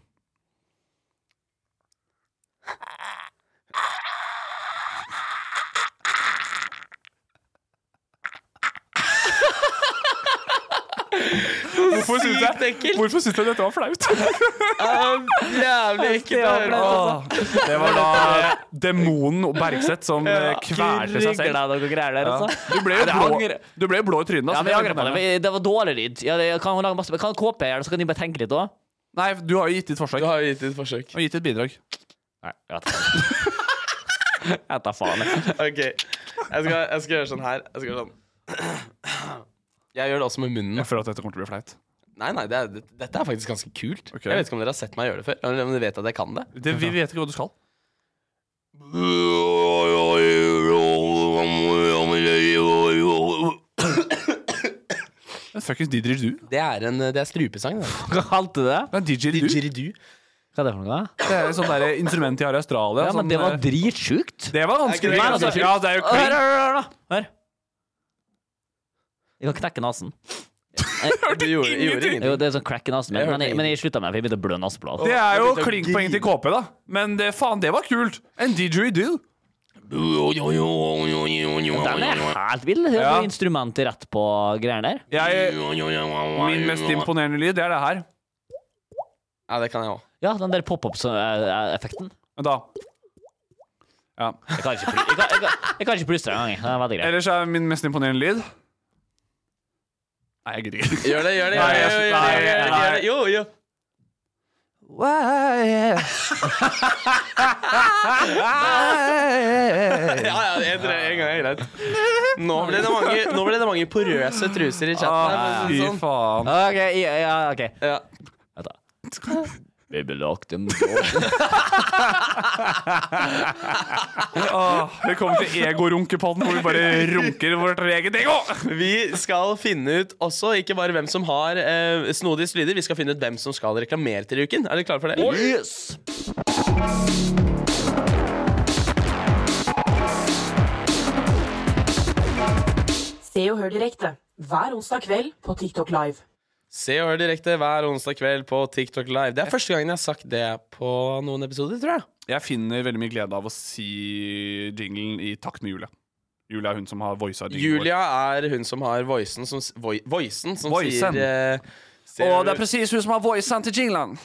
B: Hvorfor syns
A: Sykt
B: jeg,
A: ekkelt!
B: hvorfor syns jeg dette var flaut?
A: Jævlig ekkelt å høre på.
B: Åh, det var da demonen Bergseth som eh, kvelte seg selv.
C: Grygler deg noe greier der,
B: Ja.
C: altså.
B: Du ble jo
C: Ja, det
B: blå,
C: angrer-
B: du ble jo blå i trynet.
C: Ja,
B: altså.
C: men jeg angrer på det. men Det var dårlig lyd. Ja, det, jeg kan lage masse, kan KP gjøre det, så kan de bare tenke litt òg?
B: Nei, du har jo gitt ditt forslag.
A: Du har jo gitt et forsøk.
B: Og gitt ditt bidrag.
C: Nei, jeg
B: (laughs)
C: vet ikke. Jeg vet da faen. jeg.
A: Ok, jeg skal, jeg skal gjøre sånn her. Jeg skal gjøre sånn Jeg gjør det også med munnen.
B: Jeg føler at dette kommer til å bli flaut.
A: Nei, nei, det er, det, Dette er faktisk ganske kult.
B: Ok.
A: Jeg vet ikke om dere har sett meg gjøre det før. Eller om dere vet at jeg kan det.
B: Det, vi vet ikke hva du skal. Men fuckings didgeridoo.
A: Det er, en, det er strupesang. Det.
C: Hva kalte du det?
B: Det er didgeridoo.
A: Didgeridoo.
C: Hva er det for noe? da?
B: Det er et sånt der instrument de har i Australia.
C: Ja, men
B: sånn,
C: det var
B: eh,
C: dritsjukt.
B: det var
A: Er ikke det
B: vanskelig.
A: ganske
B: ja, det er jo
C: Hør,
B: clean.
C: hør, hør, da. Hør. Jeg kan knekke nesen.
A: Du gjorde, jeg gjorde
C: Jo,
A: ingenting.
C: det er sånn crack i nesen min,
A: Jeg
C: men jeg,
A: hørte
C: men jeg slutta med det, for jeg begynte å blø neseblad.
B: Det er
A: Jeg
B: jo
A: begynte å
B: klinkpoeng til KP, da. Men det, faen, det var kult. En didgeridoo.
C: Den er helt vill. Hør
B: Ja.
C: på instrumentet rett på greiene der.
B: Jeg, min mest imponerende lyd, det er det her.
A: Ja, det kan jeg òg.
C: Ja, den der eh, pop-up-effekten.
B: Vent, da. Ja.
C: Jeg kan ikke plu- jeg kan- jeg kan- jeg kan ikke plystre engang. Det er veldig greit.
B: Ellers er min mest imponerende lyd Nei, jeg gidder ikke.
A: Gjør det, gjør det.
B: Nei,
A: Gjør det, gjør det,
B: jeg-
A: gjør det,
B: nei,
A: gjør det. Jo, jo. Ja, ja, (laughs) jeg tror det er en gang er greit. Nå ble det mange, nå ble det mange porøse truser i chatten.
B: Ah,
A: her, for å si
B: Fy
A: det sånn.
B: faen.
C: OK, ja, ja, ok.
A: Ja.
C: Vent, da. Baby lock them doors.
B: Ah, Velkommen til Ego-runkepodden, hvor vi bare runker vårt eget ego.
A: Vi skal finne ut også ikke bare hvem som har eh, snodigst lyder, vi skal finne ut hvem som skal reklamere til uken. Er dere klare for det?
C: Yes!
D: Se og hør direkte hver onsdag kveld på TikTok Live.
A: Se og hør direkte hver onsdag kveld på TikTok Live. Det er første gangen jeg har sagt det på noen episoder, tror jeg.
B: Jeg finner veldig mye glede av å si jinglen i takt med Julia. Julia er hun som har voisa jinglen. vår.
A: Julia er hun som har voicen som, s- voi, voicen, som
B: Voicen.
A: sier eh, ser
B: Og det er
A: du-
B: presis hun som har voisa til jinglen.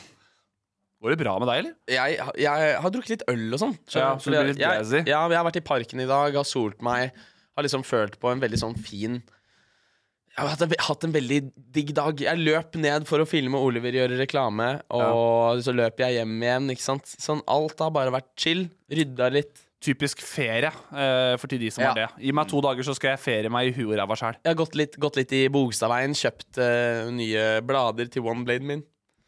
B: Går det bra med deg, eller?
A: jeg, jeg har drukket litt øl og sånn.
B: Ja, så du blir litt
A: jeg,
B: drowsy.
A: jeg, ja, jeg har vært i parken i dag, har solt meg, har liksom følt på en veldig sånn fin Jeg har hatt en, ve- hatt en veldig digg dag. Jeg løp ned for å filme Oliver gjøre reklame, og så løp jeg hjem igjen, ikke sant. Sånn alt har bare vært chill. Rydda litt.
B: Typisk ferie eh, for til de som
A: Ja.
B: har det. Gi meg to dager, så skal jeg ferie meg i huet og ræva sjæl.
A: Jeg har gått litt, gått litt i Bogstadveien, kjøpt eh, nye blader til onebladen min.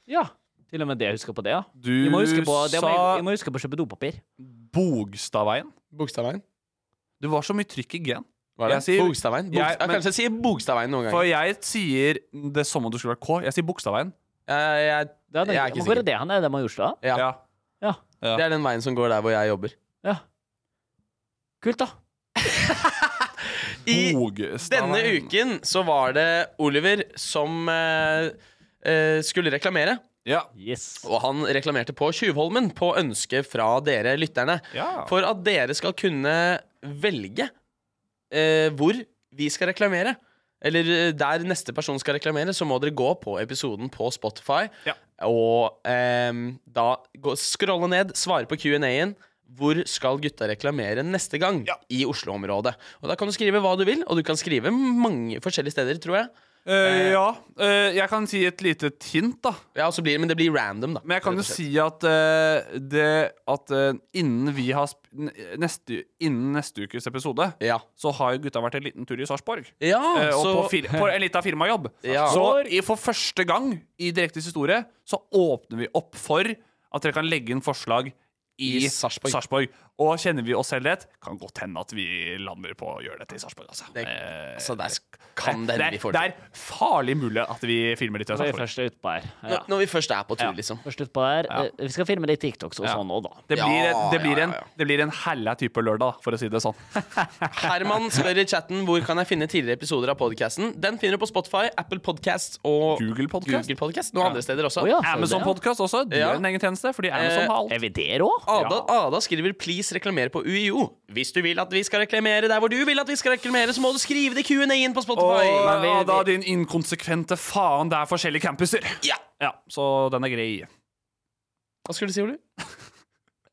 C: Ja. Til og med det jeg husker på det, ja.
B: Du
C: Vi må huske på, det må,
B: sa
C: jeg må huske på å kjøpe dopapir.
B: Bogstadveien.
A: Bogstadveien?
B: Det var så mye trykk i G-en.
A: Var det?
B: Jeg sier-
A: Bogstadveien? Bogst-
B: Jeg-
A: ja,
B: men-
A: kanskje jeg sier Bogstadveien noen
B: For
A: ganger.
B: jeg sier det som om det skulle vært K. Jeg sier Bogstadveien.
A: Eh, Jeg, jeg,
C: Det er den,
A: jeg er ikke
C: hvor er
A: sikker.
C: det han er? Det Majorstad?
A: Ja.
B: Ja. Ja.
A: Det er den veien som går der hvor jeg jobber.
C: Ja. Kult, da.
A: I
B: Bogstad.
A: denne uken så var det Oliver som eh, eh, skulle reklamere.
B: Ja.
C: Yes.
A: Og han reklamerte på Tjuvholmen på ønske fra dere lytterne.
B: Ja.
A: For at dere skal kunne velge eh, hvor vi skal reklamere, eller eh, der neste person skal reklamere, så må dere gå på episoden på Spotify
B: Ja.
A: og ehm, da gå, scrolle ned, svare på Q&A-en. Hvor skal gutta reklamere neste gang i Oslo-området? Og Da kan du skrive hva du vil, og du kan skrive mange forskjellige steder, tror jeg.
B: Eh, ja. Eh, jeg kan si et lite hint, da.
A: Ja, og så blir, Men det blir random, da.
B: Men jeg kan
A: rett
B: jo
A: og slett.
B: si at, eh, det, at eh, innen vi har sp n- neste, Innen neste ukes episode
A: Ja.
B: så har jo gutta vært en liten tur i Sarpsborg.
A: Ja,
B: Eh, og
A: så
B: på, fir på en liten firmajobb.
A: Ja.
B: Så i, for første gang i Direktes historie så åpner vi opp for at dere kan legge inn forslag
A: I
B: i,
A: Sarpsborg.
B: Sarpsborg. Og kjenner vi oss selv rett, kan godt hende at vi lander på å gjøre dette i Sarpsborg. Altså.
A: Det-
B: Eh,
A: altså, der sk- kan det
B: det,
A: hende vi
B: er-
A: får
B: det
A: til.
B: er farlig mulig at vi filmer litt i
C: Så er vi
B: Sarpsborg.
C: først utpå her. Ja.
A: Når, når vi først er på tur,
B: (laughs)
A: liksom.
C: Først utpå her. Eh, Vi skal filme litt TikToks og
B: Ja.
C: sånn òg, da.
B: Det
A: Ja,
B: blir, det, blir
A: ja,
B: en,
A: ja, ja.
B: det blir en hella type lørdag, for å si det sånn.
A: Herman spør i chatten hvor kan jeg finne tidligere episoder av podcasten. Den finner du på Spotify, Apple Podcasts og
B: Google Podcast.
A: Google Podcast. Noen andre steder også.
C: Å ja, så
B: Amazon
C: det, ja.
B: Podcast også. Det
A: Ja.
B: er en egen tjeneste, fordi Amazon
A: Eh,
B: har alt.
C: Er vi der òg?
A: Ada, Ada skriver 'please reklamer på UiO'. Hvis du vil at vi skal reklamere der hvor du vil at vi skal reklamere, så må du skrive det i Q&A-en på Spotify.
B: Og
C: vi-
B: Ada, din inkonsekvente faen, det er forskjellige campuser.
A: Ja.
B: Så den er grei.
A: Hva skulle du si, Ole?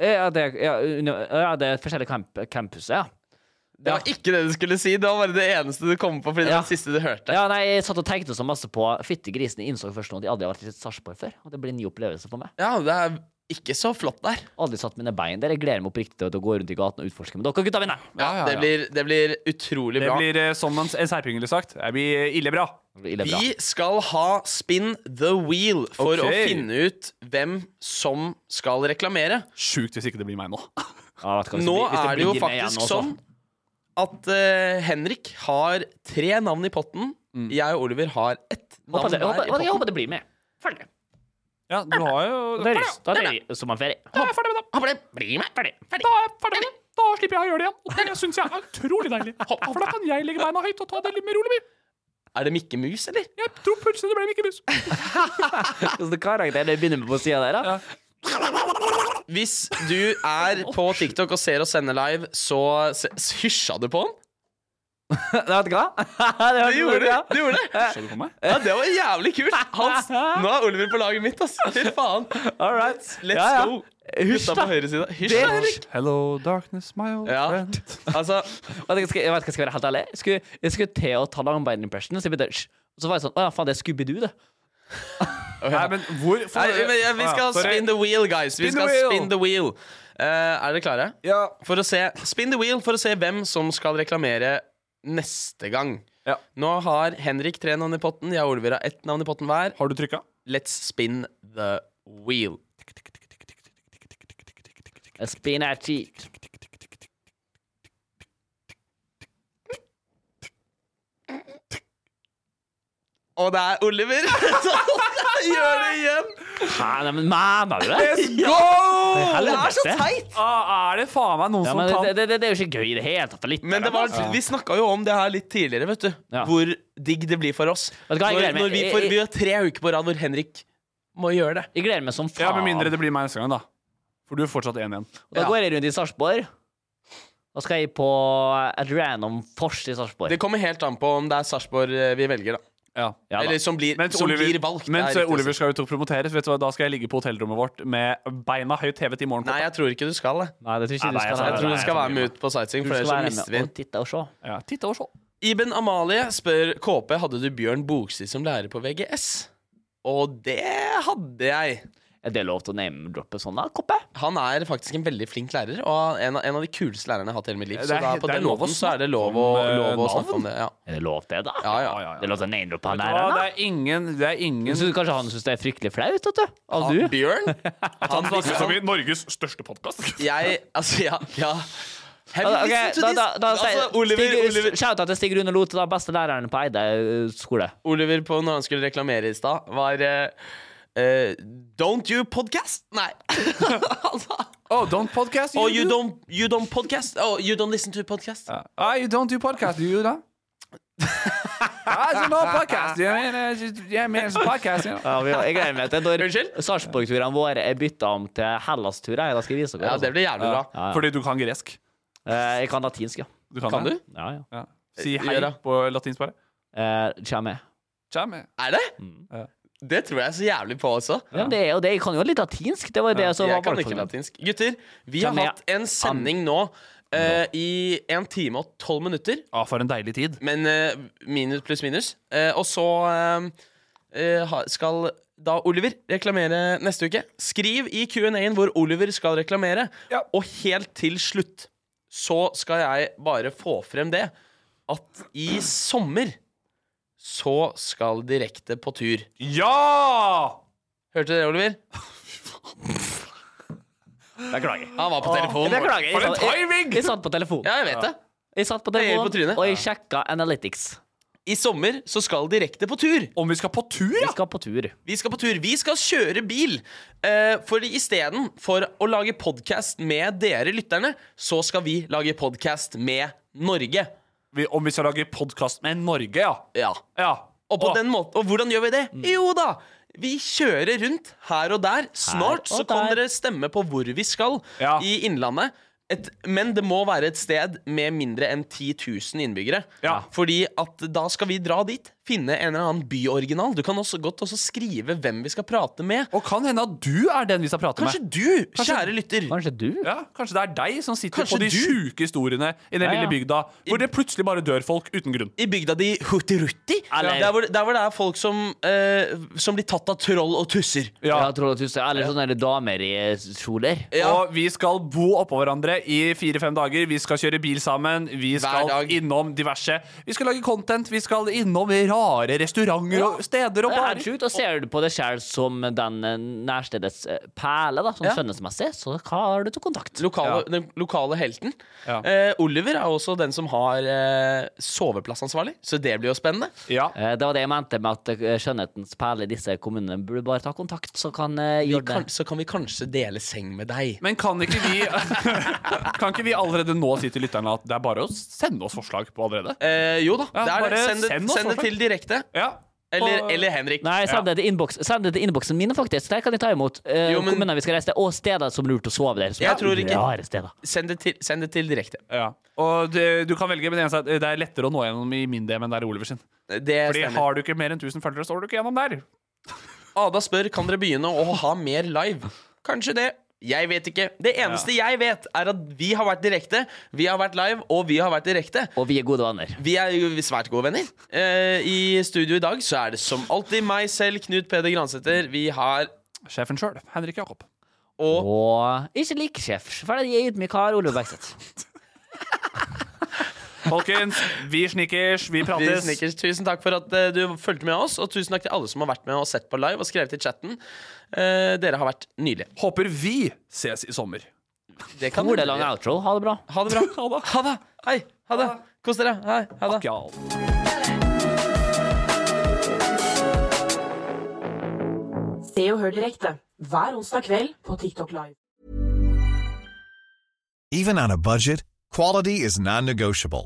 C: Ja, det, ja, under- ja, det er forskjellige camp campuser, ja.
A: Det var ikke det du skulle si. Det var bare det eneste du kom på. Fordi det
C: Ja.
A: var det siste du hørte
C: Ja, nei, Jeg satt og tenkte så masse på Fytti grisen, jeg innså først nå at jeg aldri har vært i Sarpsborg før. Og det blir en ny opplevelse for meg.
A: Ja, det er ikke så flott der.
C: Aldri satt mine bein der. Jeg gleder meg oppriktig til å gå rundt i gaten og utforske med dere, gutta mine!
B: Ja, ja,
A: Det,
B: ja.
A: blir, det blir utrolig
B: Det
A: bra.
B: blir eh, som en, en serping ville sagt. Det blir ille bra.
C: Det blir ille bra.
A: Vi skal ha Spin the Wheel for å
B: Ok.
A: finne ut hvem som skal reklamere.
B: Sjukt hvis ikke det blir meg nå.
C: Ja, vet du hva, hvis
A: Nå
C: blir- hvis
A: er det jo
C: blir med igjen
A: faktisk
C: nå, så-
A: sånn at eh, Henrik har tre navn i potten.
C: Mm.
A: Jeg og Oliver har ett
C: Håper
A: navn
C: det-
A: hver i
C: håper- Jeg
A: potten.
C: håper det blir med. Ferdig.
B: Ja, du har jo
C: Da er det- da er det som er ferdig.
B: Da er jeg ferdig med det.
A: Håper det blir meg.
C: Ferdig.
B: Da er jeg ferdig med det. Da slipper jeg å gjøre det igjen. Og det syns jeg er utrolig
A: (laughs)
B: deilig. For da kan jeg legge beina høyt og ta det litt mer rolig.
A: Er det Mikke Mus, eller?
B: Jeg tror plutselig det ble Mikke
A: Eh,
B: Mus.
C: Hvilken karakter det begynner med på sida der, da?
A: Hvis du er på
C: (laughs)
A: TikTok og ser oss sende live, så se- hysja du på han?
C: (laughs) Vet du hva? (laughs) det
A: Du gjorde det! Du gjorde det.
B: Så du på meg?
A: Ja, det var jævlig kult! Hans, nå er Oliver på laget mitt, ass. Fy faen.
C: All right.
A: Let's go.
C: Hysj,
A: Gutta
C: da.
A: på høyre side. Hysj,
C: Det-
A: da, Henrik.
B: Hello, darkness, my old
A: Ja.
B: (laughs) friend.
A: Altså,
C: Vet du hva, skal- Jeg vet ikke, skal jeg være helt ærlig. Jeg skulle, jeg skulle til å ta langbein-impression, så jeg begynte «Hysj». Og så var jeg sånn Å ja, faen, det er Scooby-Doo, det.
B: Nei, men hvor for,
A: Nei, men, ja, vi skal
B: Ah, sorry.
A: spin the wheel, guys. Vi
B: Spin
A: skal
B: the wheel.
A: spin the wheel. Eh, er dere klare?
B: Ja.
A: For å se, spin the wheel for å se hvem som skal reklamere neste gang.
B: Ja.
A: Nå har Henrik tre navn i potten, jeg og Oliver har ett navn i potten hver.
B: Har du trykka?
A: Let's spin the wheel.
C: A spin at cheek.
A: Og det er Oliver! (laughs) Gjør det igjen!
C: Hæ, nei, men mener du det?
B: Go!
A: Det er så teit!
B: Ah, er det faen meg noen
C: Ja,
B: som
C: men
B: kan
C: det, det, det, det er jo ikke gøy i det hele tatt. å lytte
A: Men
C: til
A: det
C: dem,
A: var,
C: altså.
A: vi snakka jo om det her litt tidligere, vet du.
C: Ja.
A: Hvor digg det blir for oss.
C: Vet du hva, jeg
A: Når,
C: gleder meg.
A: når vi, får, vi har tre uker på rad hvor Henrik må gjøre det.
C: Jeg gleder meg som faen.
B: Ja, Med mindre det blir meg neste gang, da. For du er fortsatt 1 igjen.
C: Og da
A: Ja.
C: går jeg rundt i Sarpsborg. Da skal jeg på et random fors i Sarpsborg.
A: Det kommer helt an på om det er Sarpsborg eh, vi velger, da.
B: Ja.
C: Ja, da.
A: Eller som blir, som blir valgt. det er
B: mens
A: riktig å
B: Oliver
A: si.
B: skal ut og promoteres, vet du hva, da skal jeg ligge på hotellrommet vårt med beina høyt hevet i morgen.
A: Nei, jeg tror ikke du skal det.
C: Nei, det tror ikke
B: Nei, nei,
A: Jeg
B: jeg Nei,
A: tror
B: nei,
A: du
B: jeg
A: skal
B: tror
A: være
B: vi
A: med
B: må.
A: ut på sightseeing,
C: Du
A: for
C: skal
A: ellers så
C: være
A: mister vi
C: med
A: den.
C: og titte og se.
B: ja, titt og se.
A: Iben Amalie spør KP hadde du Bjørn Bogstad som lærer på VGS. Og det hadde jeg.
C: Er det lov til å name-droppe sånn, da, Koppe?
A: Han er faktisk en veldig flink lærer, og en av, en av de kuleste lærerne jeg har hatt i hele mitt liv.
B: Det
A: Så
B: er
A: da,
B: helt-
A: på
B: det er
A: den
B: lov å
A: måten så er det lov å,
B: snakke om, eh,
A: lov å snakke om
B: navn.
A: det. Ja.
C: Er det lov til det, da?
A: Ja, ja.
B: ja,
C: Det er lov til å name-droppe
B: Vet
C: han
B: du
C: der,
B: hva,
C: da?
B: det er ingen Det er ingen
C: Jeg synes kanskje han syns det er fryktelig flaut, vet du. Av
A: Han,
C: du.
A: Ah, Bjørn? Han
B: Snakkes om
A: liksom
B: i Norges største podkast. (laughs)
A: Jeg Altså, ja. ja. Have you
C: Ok,
A: listened to
C: da,
A: this?
C: da, da,
A: altså,
C: Stig-
A: Oliver,
C: Stig-
A: Oliver,
C: Shout-out til Stig Rune Lote, da, beste læreren på Eide eh, skole.
A: Oliver på når han skulle reklamere i stad, var eh, eh, Don't you podcast? Nei. (laughs) altså,
B: Oh, don't podcast.
A: oh, you don't, you don't podcast? Oh, you don't listen to podcast?
B: Uh, ah, you don't do podcast,
A: (laughs)
B: do you, da? ah, it's no podcast. Yeah, man, uh, just, yeah, man, it's a podcast, you know.
C: Ja, vi- jeg gleder meg til (laughs) når
A: Unnskyld?
C: Sarpsborg-turene våre er bytta om til Hellas-turer. Da skal jeg vise dere.
A: Ja,
C: altså.
A: det blir jævlig bra.
B: Fordi du kan gresk.
C: Eh, Jeg kan latinsk, ja.
B: Du kan,
A: Kan
B: det?
A: du?
C: ja, ja.
B: Ja. Si
A: Gjør
B: hei
A: det.
B: på latinsk bare.
C: Eh, Chame.
B: Chame.
A: Er det?
B: Ja.
A: Det tror jeg så jævlig på også.
C: Ja, men det er jo det. Jeg kan jo litt latinsk. Det var jo det som var
A: Jeg kan ikke
C: valgformen.
A: latinsk. Gutter, vi har
C: Kan jeg-
A: hatt en sending nå eh, i en time og tolv minutter.
B: Ah, for en deilig tid.
A: Men eh, minus pluss minus. Eh, og så eh, eh, ha- skal da Oliver reklamere neste uke. Skriv i Q&A-en hvor Oliver skal reklamere.
B: Ja.
A: Og helt til slutt så skal jeg bare få frem det at i sommer så skal Direkte på tur.
B: Ja!
A: Hørte dere, Oliver?
C: Beklager.
A: Han var på telefonen.
C: Beklager. Jeg
B: For en
C: satt- jeg-
B: timing!
C: Jeg satt på telefonen.
A: Ja, jeg vet det.
C: Jeg satt på
A: Det gir på
C: telefonen,
A: trynet.
C: og jeg sjekka Analytics.
A: I sommer så skal Direkte på tur.
B: Om vi skal på tur,
C: Vi
B: ja!
C: skal på tur.
A: Vi skal på tur. Vi skal kjøre bil. Eh, for isteden for å lage podkast med dere lytterne, så skal vi lage podkast med Norge.
B: Vi, om vi skal lage podkast med Norge, ja.
A: Ja.
B: ja.
A: Og, på
B: Åh,
A: den måten, og hvordan gjør vi det? Jo da! Vi kjører rundt her og der. Snart
C: Her og
A: så kan
C: der.
A: dere stemme på hvor vi skal
B: Ja.
A: i Innlandet. Et, men det må være et sted med mindre enn 10 000 innbyggere.
B: Ja.
A: Fordi at da skal vi dra dit, finne en eller annen byoriginal. Du kan også godt også skrive hvem vi skal prate med.
B: Og kan hende at du er den vi skal prate
A: Kanskje
B: med.
A: du, kjære lytter.
C: Kanskje du?
B: Ja, Kanskje det er deg som sitter
A: Kanskje
B: på de
A: du?
B: sjuke historiene i den
C: Ja, ja.
B: lille bygda hvor det plutselig bare dør folk uten grunn.
A: I bygda di Hutirutti.
C: Eller-
A: Der, hvor, der hvor det er folk som, eh, som blir tatt av troll og tusser.
C: Ja, Troll og Tusse. Eller sånne der damer i kjoler.
A: Ja.
B: Og vi skal bo oppå hverandre i fire-fem dager. Vi skal kjøre bil sammen. Vi skal
A: dag.
B: innom diverse. Vi skal lage content. Vi skal innom rare restauranter og steder og
C: Det er helt
B: barer.
C: sjukt. Og ser du på deg selv som den eh, nærstedets eh, perle, da, sånn
A: Ja.
C: skjønnhetsmessig, så hva har du til kontakt?
A: Lokale,
B: Ja.
A: Den lokale helten.
B: Ja.
A: Eh, Oliver er også den som har eh, soveplassansvarlig, så det blir jo spennende.
B: Ja.
C: Eh, Det var det jeg mente med at eh, skjønnhetens perle i disse kommunene burde bare ta kontakt, så kan eh,
A: Vi
C: gjøre det.
A: kan, så kan vi kanskje dele seng med deg.
B: Men kan ikke vi (laughs) Kan ikke vi allerede nå si til lytterne at det er bare å sende oss forslag på allerede?
A: Eh, jo da,
B: Ja,
A: det er det.
B: bare
A: Send det,
B: send
A: send
B: oss
A: det
B: forslag.
A: til direkte.
B: Ja.
A: Eller,
B: På-
A: eller Henrik.
C: Nei, send det til innboks- send det til innboksen mine, faktisk. Der kan de ta imot. Eh,
A: Jo, men-
C: Kommuner vi skal reise til, og steder som lurt å sove der. Som
A: Jeg
C: er
A: tror ikke-
C: Rare steder.
A: Send det til, send det til direkte.
B: ja. Og det, du kan velge, men det eneste er at det er lettere å nå gjennom i min DM enn det er i Oliver sin.
A: Det
B: Fordi
A: stemmer.
B: har du ikke mer enn 1000 følgere, står du ikke gjennom der.
A: Ada spør kan dere begynne å ha mer live. Kanskje det. Jeg vet ikke. Det eneste jeg vet, er at vi har vært direkte. Vi har vært live, og vi har vært direkte.
C: Og vi er gode venner.
A: Vi er jo svært gode venner. Eh, I studio i dag så er det som alltid meg selv, Knut Peder Gransæter. Vi har
B: Sjefen sjøl, Henrik Jakob.
A: og
C: Og ikke like sjef, for det er ydmyk kar, Olav Bergseth.
B: Folkens, vi snickers,
A: vi
B: vi prates.
A: Snickers. Tusen takk for at eh, du fulgte med oss, og tusen takk til alle som har vært med og sett på live og skrevet i chatten. Eh, dere har vært nydelige.
B: Håper vi ses i sommer.
A: Det kan
C: Hvor
A: dere
C: er
A: (laughs)
C: det lang
A: gjøre.
C: outro? Ha det bra.
A: Ha det bra. Ha det. Hei. Ha det. Kos dere. Hei. Ha det.
B: Gjall.
D: Se og hør direkte hver onsdag kveld på TikTok Live.
G: Even on a budget, quality is non-negotiable.